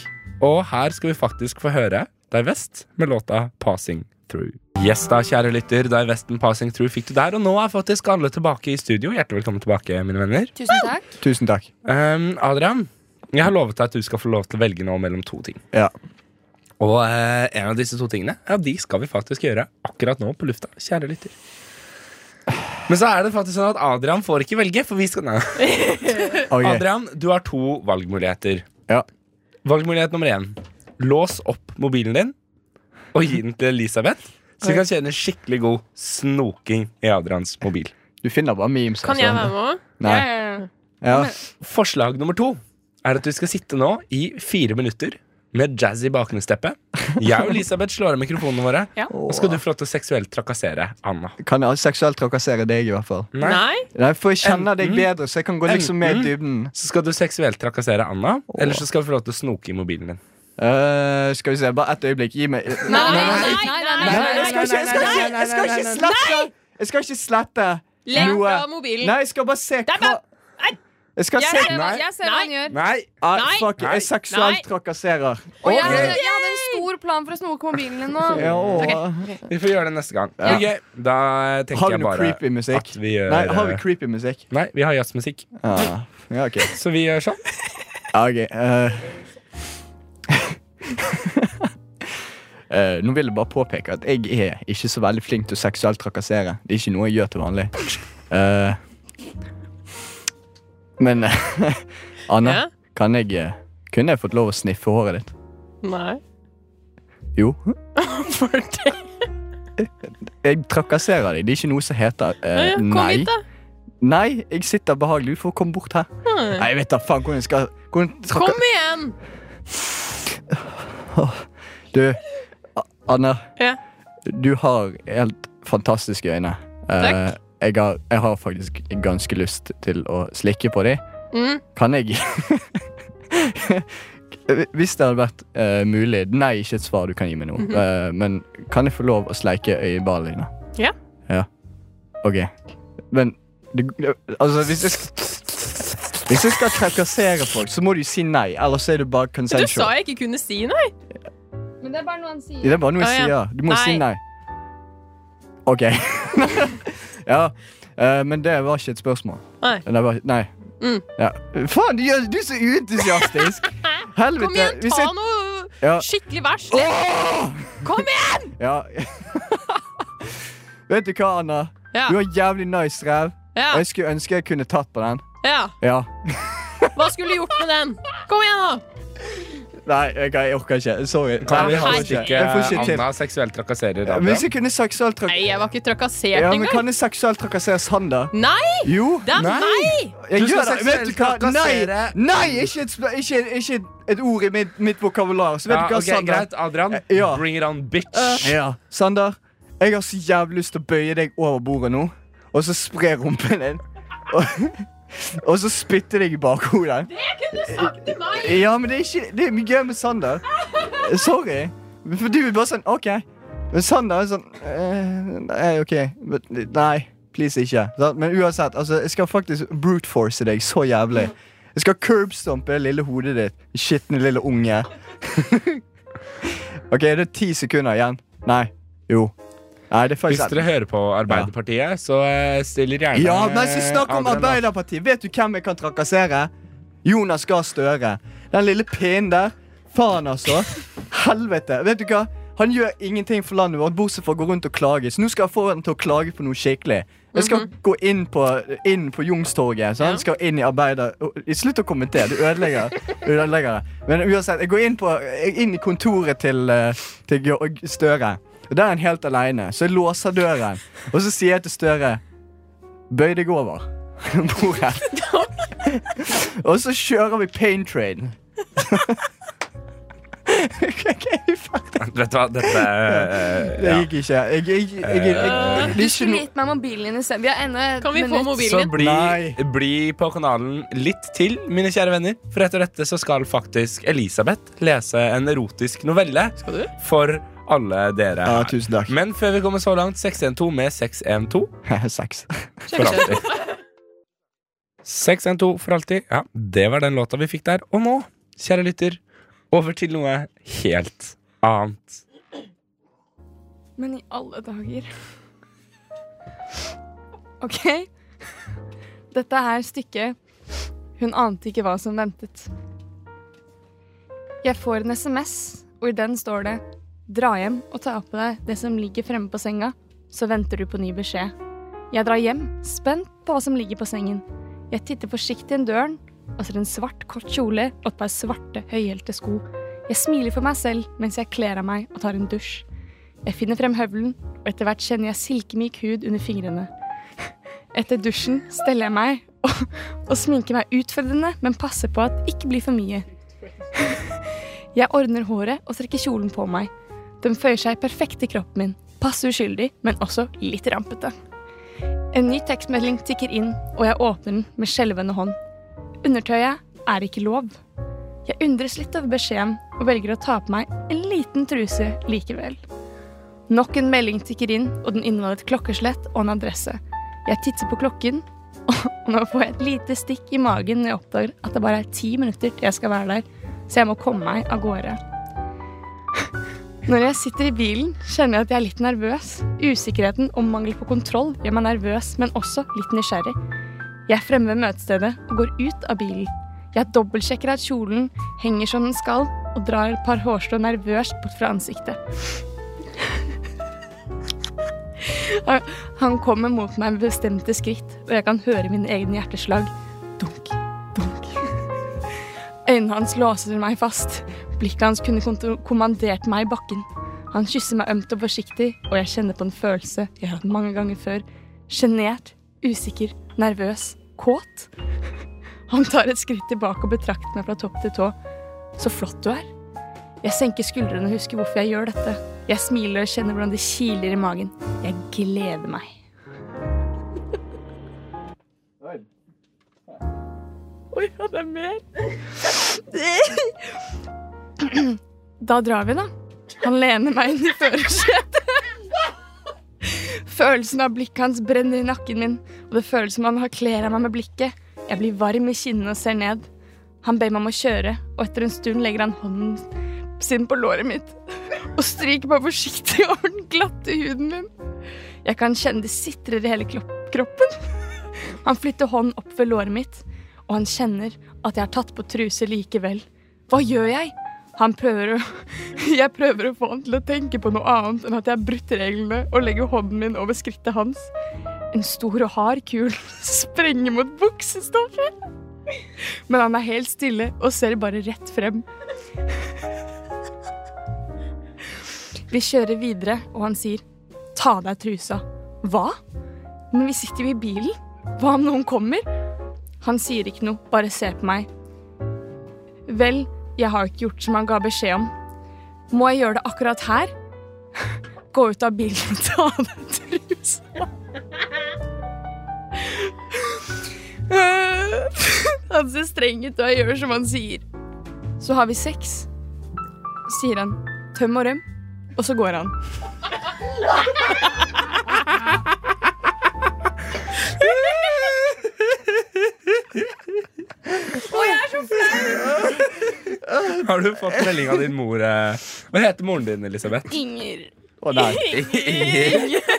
Og her skal vi faktisk få høre Dei Vest med låta 'Passing Through'. Yes da, kjære lytter, Dei Vesten 'Passing Through' fikk du der. Og nå er faktisk alle tilbake i studio. Hjertelig velkommen tilbake, mine venner.
Tusen takk.
Tusen takk.
Ehm, Adrian, jeg har lovet deg at du skal få lov til å velge nå mellom to ting.
Ja.
Og eh, en av disse to tingene, ja, de skal vi faktisk gjøre akkurat nå på lufta, kjære lytter. Men så er det faktisk sånn at Adrian får ikke velge, for vi skal Nei.
Ok.
Adrian, du har to valgmuligheter.
Ja.
Valgmulighet nummer én. Lås opp mobilen din og gi den til Elisabeth, så vi kan kjenne skikkelig god snoking i Adrians mobil.
Du finner bare memes. altså.
Kan jeg være med òg?
Nei. Ja.
Forslag nummer to er at du skal sitte nå i fire minutter med jazz i bakgrunnsteppet. Jeg og Elisabeth slår av mikrofonene våre,
Ja.
og så skal du få lov til å seksuelt trakassere Anna.
Kan jeg seksuelt trakassere deg, i hvert fall?
Nei.
Nei?
Nei, For jeg kjenner deg
Enten-
bedre, så jeg kan gå liksom mer i dybden.
Så skal du seksuelt trakassere Anna, eller så skal du få lov til å snoke i mobilen din.
Eh, skal vi se, bare ett øyeblikk. Gi meg
Nei, nei, nei, nei,
Nei, nei, jeg skal ikke- jeg skal ikke- jeg skal ikke slette Jeg skal ikke slette
Legg
noe.
fra mobilen.
Nei, jeg skal bare se hva Jeg skal
Jeg
se
ser, hva- jeg ser hva han gjør.
Nei!
ah,
Nei.
Fuck, jeg
Nei.
seksuelt trakasserer.
Og jeg, hadde, jeg hadde en stor plan for å snoke mobilen din nå.
Ja, og-
Vi får gjøre det neste gang.
Ja.
Ok, Da
Har
tenker
vi
jeg
noe
bare
creepy musikk?
at vi gjør eh,
Nei, har vi creepy musikk?
Nei, vi har jazzmusikk.
Ah, ja, ok.
Så vi gjør sånn.
Ja, ok. eh. Eh, nå vil jeg bare påpeke at jeg er ikke så veldig flink til å seksuelt trakassere. Det er ikke noe jeg gjør til vanlig. Eh, men eh, Anna,
Ja?
kan jeg eh, Kunne jeg fått lov å sniffe håret ditt?
Nei.
Jo.
For det.
Jeg trakasserer deg. Det er ikke noe som heter
Ja,
eh,
ja. Kom
nei.
hit, da.
Nei, jeg sitter behagelig. Du får komme bort her. Nei, jeg vet da faen hvordan jeg skal hvordan traka-
Kom igjen!
Du, A- Anna.
Ja.
Du har helt fantastiske øyne. Eh,
Takk.
jeg, har, jeg har faktisk ganske lyst til å slikke på dem.
Mm.
Kan jeg Hvis det hadde vært eh, mulig Nei, ikke et svar du kan gi meg nå.
Mhm.
eh, men kan jeg få lov å sleike øyeballene dine?
Ja.
Ja. OK. Men det, Altså, hvis jeg skal hvis jeg skal trakassere folk, så må du si nei. Ellers er du bare
Du
consensual.
sa jeg ikke kunne si noe.
Men det er bare noe han sier.
Det er bare noe jeg
Å, ja.
sier. Du må si
Nei.
nei. OK. ja. eh, men det var ikke et spørsmål.
Nei.
Det var, nei.
Mm.
Ja. Faen, du, gjør- du er så uentusiastisk! Helvete.
Kom igjen,
hvis
ta
jeg-
noe
Ja.
skikkelig vers. Kom
Kom igjen! Ja. Vet du hva, Anna?
Ja.
Du har jævlig nice ræv.
Ja.
Og jeg skulle ønske jeg kunne tatt på den.
ja.
Ja.
Hva skulle du gjort med den? Kom igjen, da!
Nei, jeg, jeg orker ikke. Sorry.
Kan
Nei,
vi
jeg
ha
orker ikke.
ikke
Jeg får ikke til.
Anna seksuelt trakasserer
Men hvis
Adrian?
jeg kunne seksuelt
Nei,
trakassere
jeg var ikke trakassert
ja, men
engang.
Kan jeg seksuelt trakassere Sander?
Nei!
Jo.
Det er
Nei.
meg!
Jeg
Du skal
gjør det. Vet du
seksuelt
hva? Nei,
trakassere-
nei ikke, et, sp- ikke, ikke et- et ord i mitt, mitt vokabular. Så vet
Ja,
du hva,
ok,
Sander?
greit, Adrian.
Eh, Ja. Eh,
Bring it on, bitch.
Ja, Sander, jeg har så jævlig lyst til å bøye deg over bordet nå, og så spre rumpen din. Og, og så spytte deg i bakhodet. Det kunne sagt til meg! Ja, men det er, ikke, det er mye gøy med Sander. Sorry. For du er bare sånn OK. Men Sander er sånn eh, Nei, OK. Men, nei, please ikke. Sant? Men uansett, altså, jeg skal faktisk brute-force deg så jævlig. Jeg skal curbstompe det lille hodet ditt. Skitne lille unge. OK, det er ti sekunder igjen. Nei. Jo. Nei, det er
Hvis
faktisk
dere hører på Arbeiderpartiet, så eh, stiller gjerne
Ja, men så snakk om
Adrian opp.
Arbeiderpartiet. Vet du hvem jeg kan trakassere? Jonas Gahr Støre. Den lille pinnen der. Faen, altså. Helvete. Vet du hva? Han gjør ingenting for landet vårt, bortsett fra å gå rundt og klage. Så nå skal jeg få han til å klage på noe skikkelig. Jeg skal gå inn på, inn på Youngstorget. Så han skal inn i arbeider... Slutt å kommentere. Du ødelegger, ødelegger det. Men uansett, jeg går inn, på, inn i kontoret til, eh, til Gahr Støre. Og Der er han helt aleine. Så jeg låser døren, og så sier jeg til Støre Bøy deg over bordet. og så kjører vi pain train.
Vet du hva, dette eh,
Det
ja.
gikk ikke. Jeg, jeg, jeg, jeg, jeg, jeg,
Du
det er ikke
skulle
noe
gitt meg mobilen din isteden. Vi har ennå et
Kan vi få
minutt.
Så
mobilen din?
bli,
Nei.
bli på kanalen litt til, mine kjære venner. For etter dette så skal faktisk Elisabeth lese en erotisk novelle
Skal du?
for alle dere.
Ja,
her.
tusen takk.
Men før vi kommer så langt, 612 med 612
Sex.
for alltid. 612 for alltid. Ja, det var den låta vi fikk der. Og nå, kjære lytter, over til noe helt annet.
Men i alle dager. OK. Dette er stykket Hun ante ikke hva som ventet. Jeg får en SMS, og i den står det Dra hjem og ta på deg det som ligger fremme på senga, så venter du på ny beskjed. Jeg drar hjem, spent på hva som ligger på sengen. Jeg titter forsiktig inn døren og ser en svart, kort kjole og et par svarte, høyhælte sko. Jeg smiler for meg selv mens jeg kler av meg og tar en dusj. Jeg finner frem høvelen, og etter hvert kjenner jeg silkemyk hud under fingrene. Etter dusjen steller jeg meg og, og sminker meg utfordrende, men passer på at det ikke blir for mye. Jeg ordner håret og trekker kjolen på meg. Den føyer seg perfekt i kroppen min. Passe uskyldig, men også litt rampete. En ny tekstmelding tikker inn, og jeg åpner den med skjelvende hånd. Undertøyet er ikke lov. Jeg undres litt over beskjeden og velger å ta på meg en liten truse likevel. Nok en melding tikker inn, og den inneholder et klokkeslett og en adresse. Jeg titter på klokken, og nå får jeg et lite stikk i magen når jeg oppdager at det bare er ti minutter til jeg skal være der, så jeg må komme meg av gårde. Når jeg sitter i bilen, kjenner jeg at jeg er litt nervøs. Usikkerheten og mangel på kontroll gjør meg nervøs, men også litt nysgjerrig. Jeg er fremme ved møtestedet og går ut av bilen. Jeg dobbeltsjekker at kjolen henger som den skal, og drar et par hårstrå nervøst bort fra ansiktet. Han kommer mot meg med bestemte skritt, og jeg kan høre mine egne hjerteslag. Dunk, dunk. Øynene hans låser meg fast. Blikket hans kunne konto- kommandert meg i bakken. Han kysser meg ømt og forsiktig, og jeg kjenner på en følelse jeg har hatt mange ganger før. Sjenert, usikker, nervøs, kåt. Han tar et skritt tilbake og betrakter meg fra topp til tå. Så flott du er. Jeg senker skuldrene og husker hvorfor jeg gjør dette. Jeg smiler og kjenner hvordan det kiler i magen. Jeg gleder meg.
Oi, ja, det er mer.
Da drar vi, da. Han lener meg inn i førersetet. Følelsen av blikket hans brenner i nakken min, og det føles som han har klær av meg med blikket. Jeg blir varm i kinnene og ser ned. Han ber meg om å kjøre, og etter en stund legger han hånden sin på låret mitt og stryker meg forsiktig over den glatte huden min. Jeg kan kjenne det sitrer i hele klopp- kroppen. Han flytter hånden opp ved låret mitt, og han kjenner at jeg har tatt på truse likevel. Hva gjør jeg? Han prøver å Jeg prøver å få han til å tenke på noe annet enn at jeg har brutt reglene og legger hånden min over skrittet hans. En stor og hard kul sprenger mot buksestoffet. Men han er helt stille og ser bare rett frem. Vi kjører videre, og han sier ta av deg trusa. Hva? Men vi sitter jo i bilen. Hva om noen kommer? Han sier ikke noe, bare ser på meg. Vel, jeg har ikke gjort som han ga beskjed om. Må jeg gjøre det akkurat her? Gå ut av bilen og ta av deg trusa. Øh. Han ser streng ut, og jeg gjør som han sier. Så har vi sex, sier han. Tøm og røm. Og så går han.
Har du fått melding av din mor? eh? Hva heter moren din, Elisabeth?
Inger.
Å, nei.
Inger.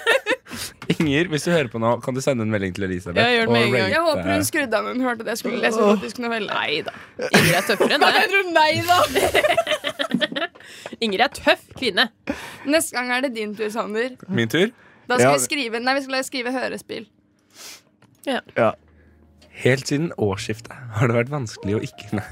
Inger, hvis du hører på nå, kan du sende en melding til Elisabeth?
Ja, gjør det med en
og
gang.
Jeg
rate-
håper hun skrudde av når hun hørte at jeg skulle lese erotisk novelle.
Nei da. Inger er tøffere enn
Jeg
deg.
tror nei da.
Inger er tøff kvinne.
Neste gang er det din tur, Sander.
Min tur?
Da skal
Ja.
vi skrive Nei, vi skal skrive hørespill.
Ja.
Helt siden årsskiftet har det vært vanskelig å ikke Nei.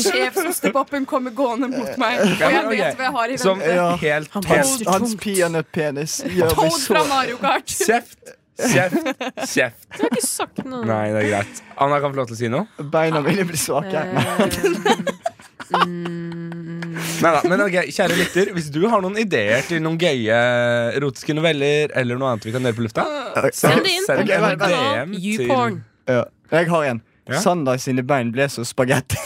Sjefsostepopen kommer gående mot meg, og jeg
men, ok.
vet hva jeg har i
Som
vente.
Ja.
helt
Hans,
helt-
hans peanøttpenis gjør meg
Toad
så
fra Mario Kart.
Kjeft! Kjeft! Kjeft!
Du har ikke sagt noe.
Nei, det er greit. Anna kan få lov til å si noe.
Beina mine blir svake.
Eh.
Neida, men ok, Kjære lytter, hvis du har noen ideer til noen gøye erotiske noveller eller noe annet vi kan dele på lufta, så
Send det inn.
send
Ok,
en
vent,
DM
vent.
til
YouPorn.
Ja. Jeg har en.
Ja?
Sander sine bein ble så spagetti.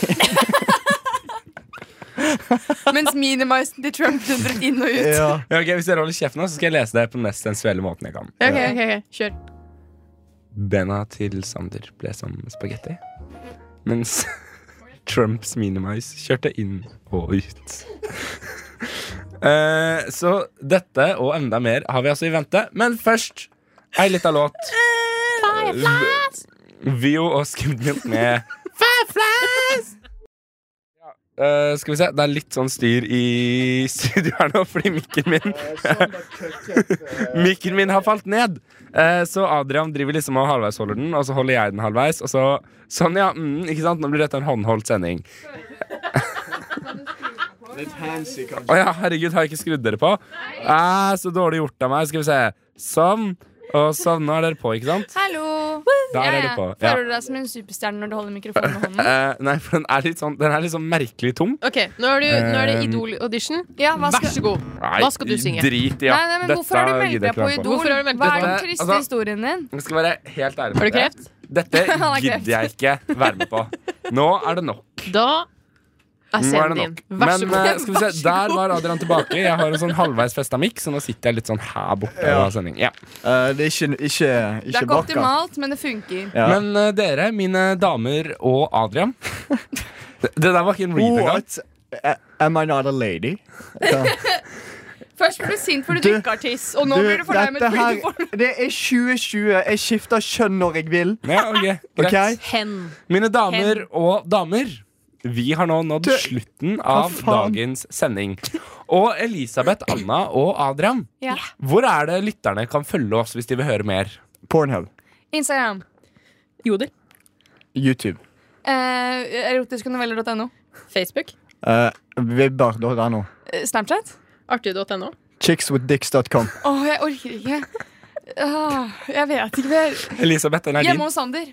Mens minimisen til Trump dundret inn og ut.
Ja.
Ja, ok, Hvis dere holder kjeft nå, så skal jeg lese det på den mest sensuelle måten jeg kan.
Ok, ok, ok, kjør.
Bena til Sander ble som spagetti, mens Trumps minimais kjørte inn og ut. Eh, så dette og enda mer har vi altså i vente, men først ei lita låt. Fireflies! Vio og Skimmed Milk med Fireflies! Ja, eh, skal vi se, Det er litt sånn styr i studio her nå, fordi mikken min Mikken min har falt ned. Eh, så Adrian driver liksom og halvveisholder den, og så holder jeg den halvveis. Og så Sånn, ja. Mm, ikke sant? Nå blir dette en håndholdt sending. Å ja, herregud, har jeg ikke skrudd dere på? Eh, så dårlig gjort av meg. Skal vi se. Sånn. Og sånn, nå er dere på, ikke sant?
Hallo.
Der er det på, ja.
Føler du deg som en superstjerne når du holder mikrofonen med hånden?
Eh, nei, for den er litt sånn Den er litt sånn merkelig tung.
Ok, nå er, du, nå er det
Um,
Idol-audition.
Ja, hva
Vær
skal...
så god.
Nei,
Hva skal du synge?
Drit i ja.
Nei, nei, men Hvorfor har du meldt deg på Idol?
Hvorfor har du meldt
Hva
deg
er
på?
den triste
Altså-
historien din?
Jeg skal være helt ærlig
Har du
med dere.
kreft?
Dette
Han har kreft.
gidder jeg ikke være med på. Nå er det nok.
Da er
Nå er det
scenen din.
nok.
Vær så
Men eh,
god.
skal vi se, der var Adrian tilbake. Jeg har en sånn halvveis festa mikk, så nå sitter jeg litt sånn her borte.
Ja.
av sending. Ja.
Eh, det er ikke, ikke,
Det er
ikke
ikke
bakka.
optimalt, men det funker.
Ja.
Men eh, dere, mine damer og Adrian Det det der var ikke en read engang.
What? Eh, Am I not a lady? Ja.
Først ble du sint fordi du
Du-
ikke har tiss, og nå
Du,
blir du fornærmet
dette
fordi du får
her, det er 2020. Jeg skifter kjønn når jeg vil.
Ja, ok, greit.
Ok?
Hen.
Mine damer og damer, vi har nå nådd
Du-
slutten av
faen?
dagens sending. Og Elisabeth, Anna og Adrian,
Ja.
hvor er det lytterne kan følge oss hvis de vil høre mer?
Pornhub.
Instagram.
Joder.
YouTube.
Eh, Erotiskenoveller.no.
Facebook.
Uh, Vibber.no.
Eh, Snapchat.
Artig.no.
Chickswithdicks.com.
Åh, jeg orker ikke. Åh, jeg vet ikke mer.
Elisabeth, den er din.
Hjemme hos Sander.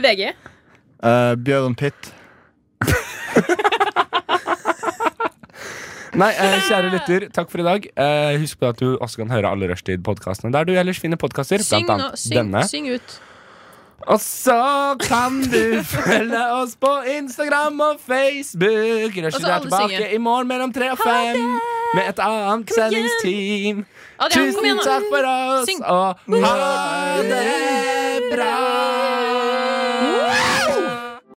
VG.
Eh, Bjørn Pitt.
Nei, eh, kjære lytter, takk for i dag. Eh, husk på at du også kan høre alle Rushtid-podkastene der du ellers finner podkaster.
Syng,
Blant
nå,
annet
syng,
denne.
syng ut.
Og så kan du følge oss på Instagram og Facebook.
Og
Rushtid
så
er
alle
tilbake
synger.
i morgen mellom tre og fem med et annet sendingsteam.
Adrian, kom
Tusen
igjen nå.
takk for oss,
Syng.
og ha det bra!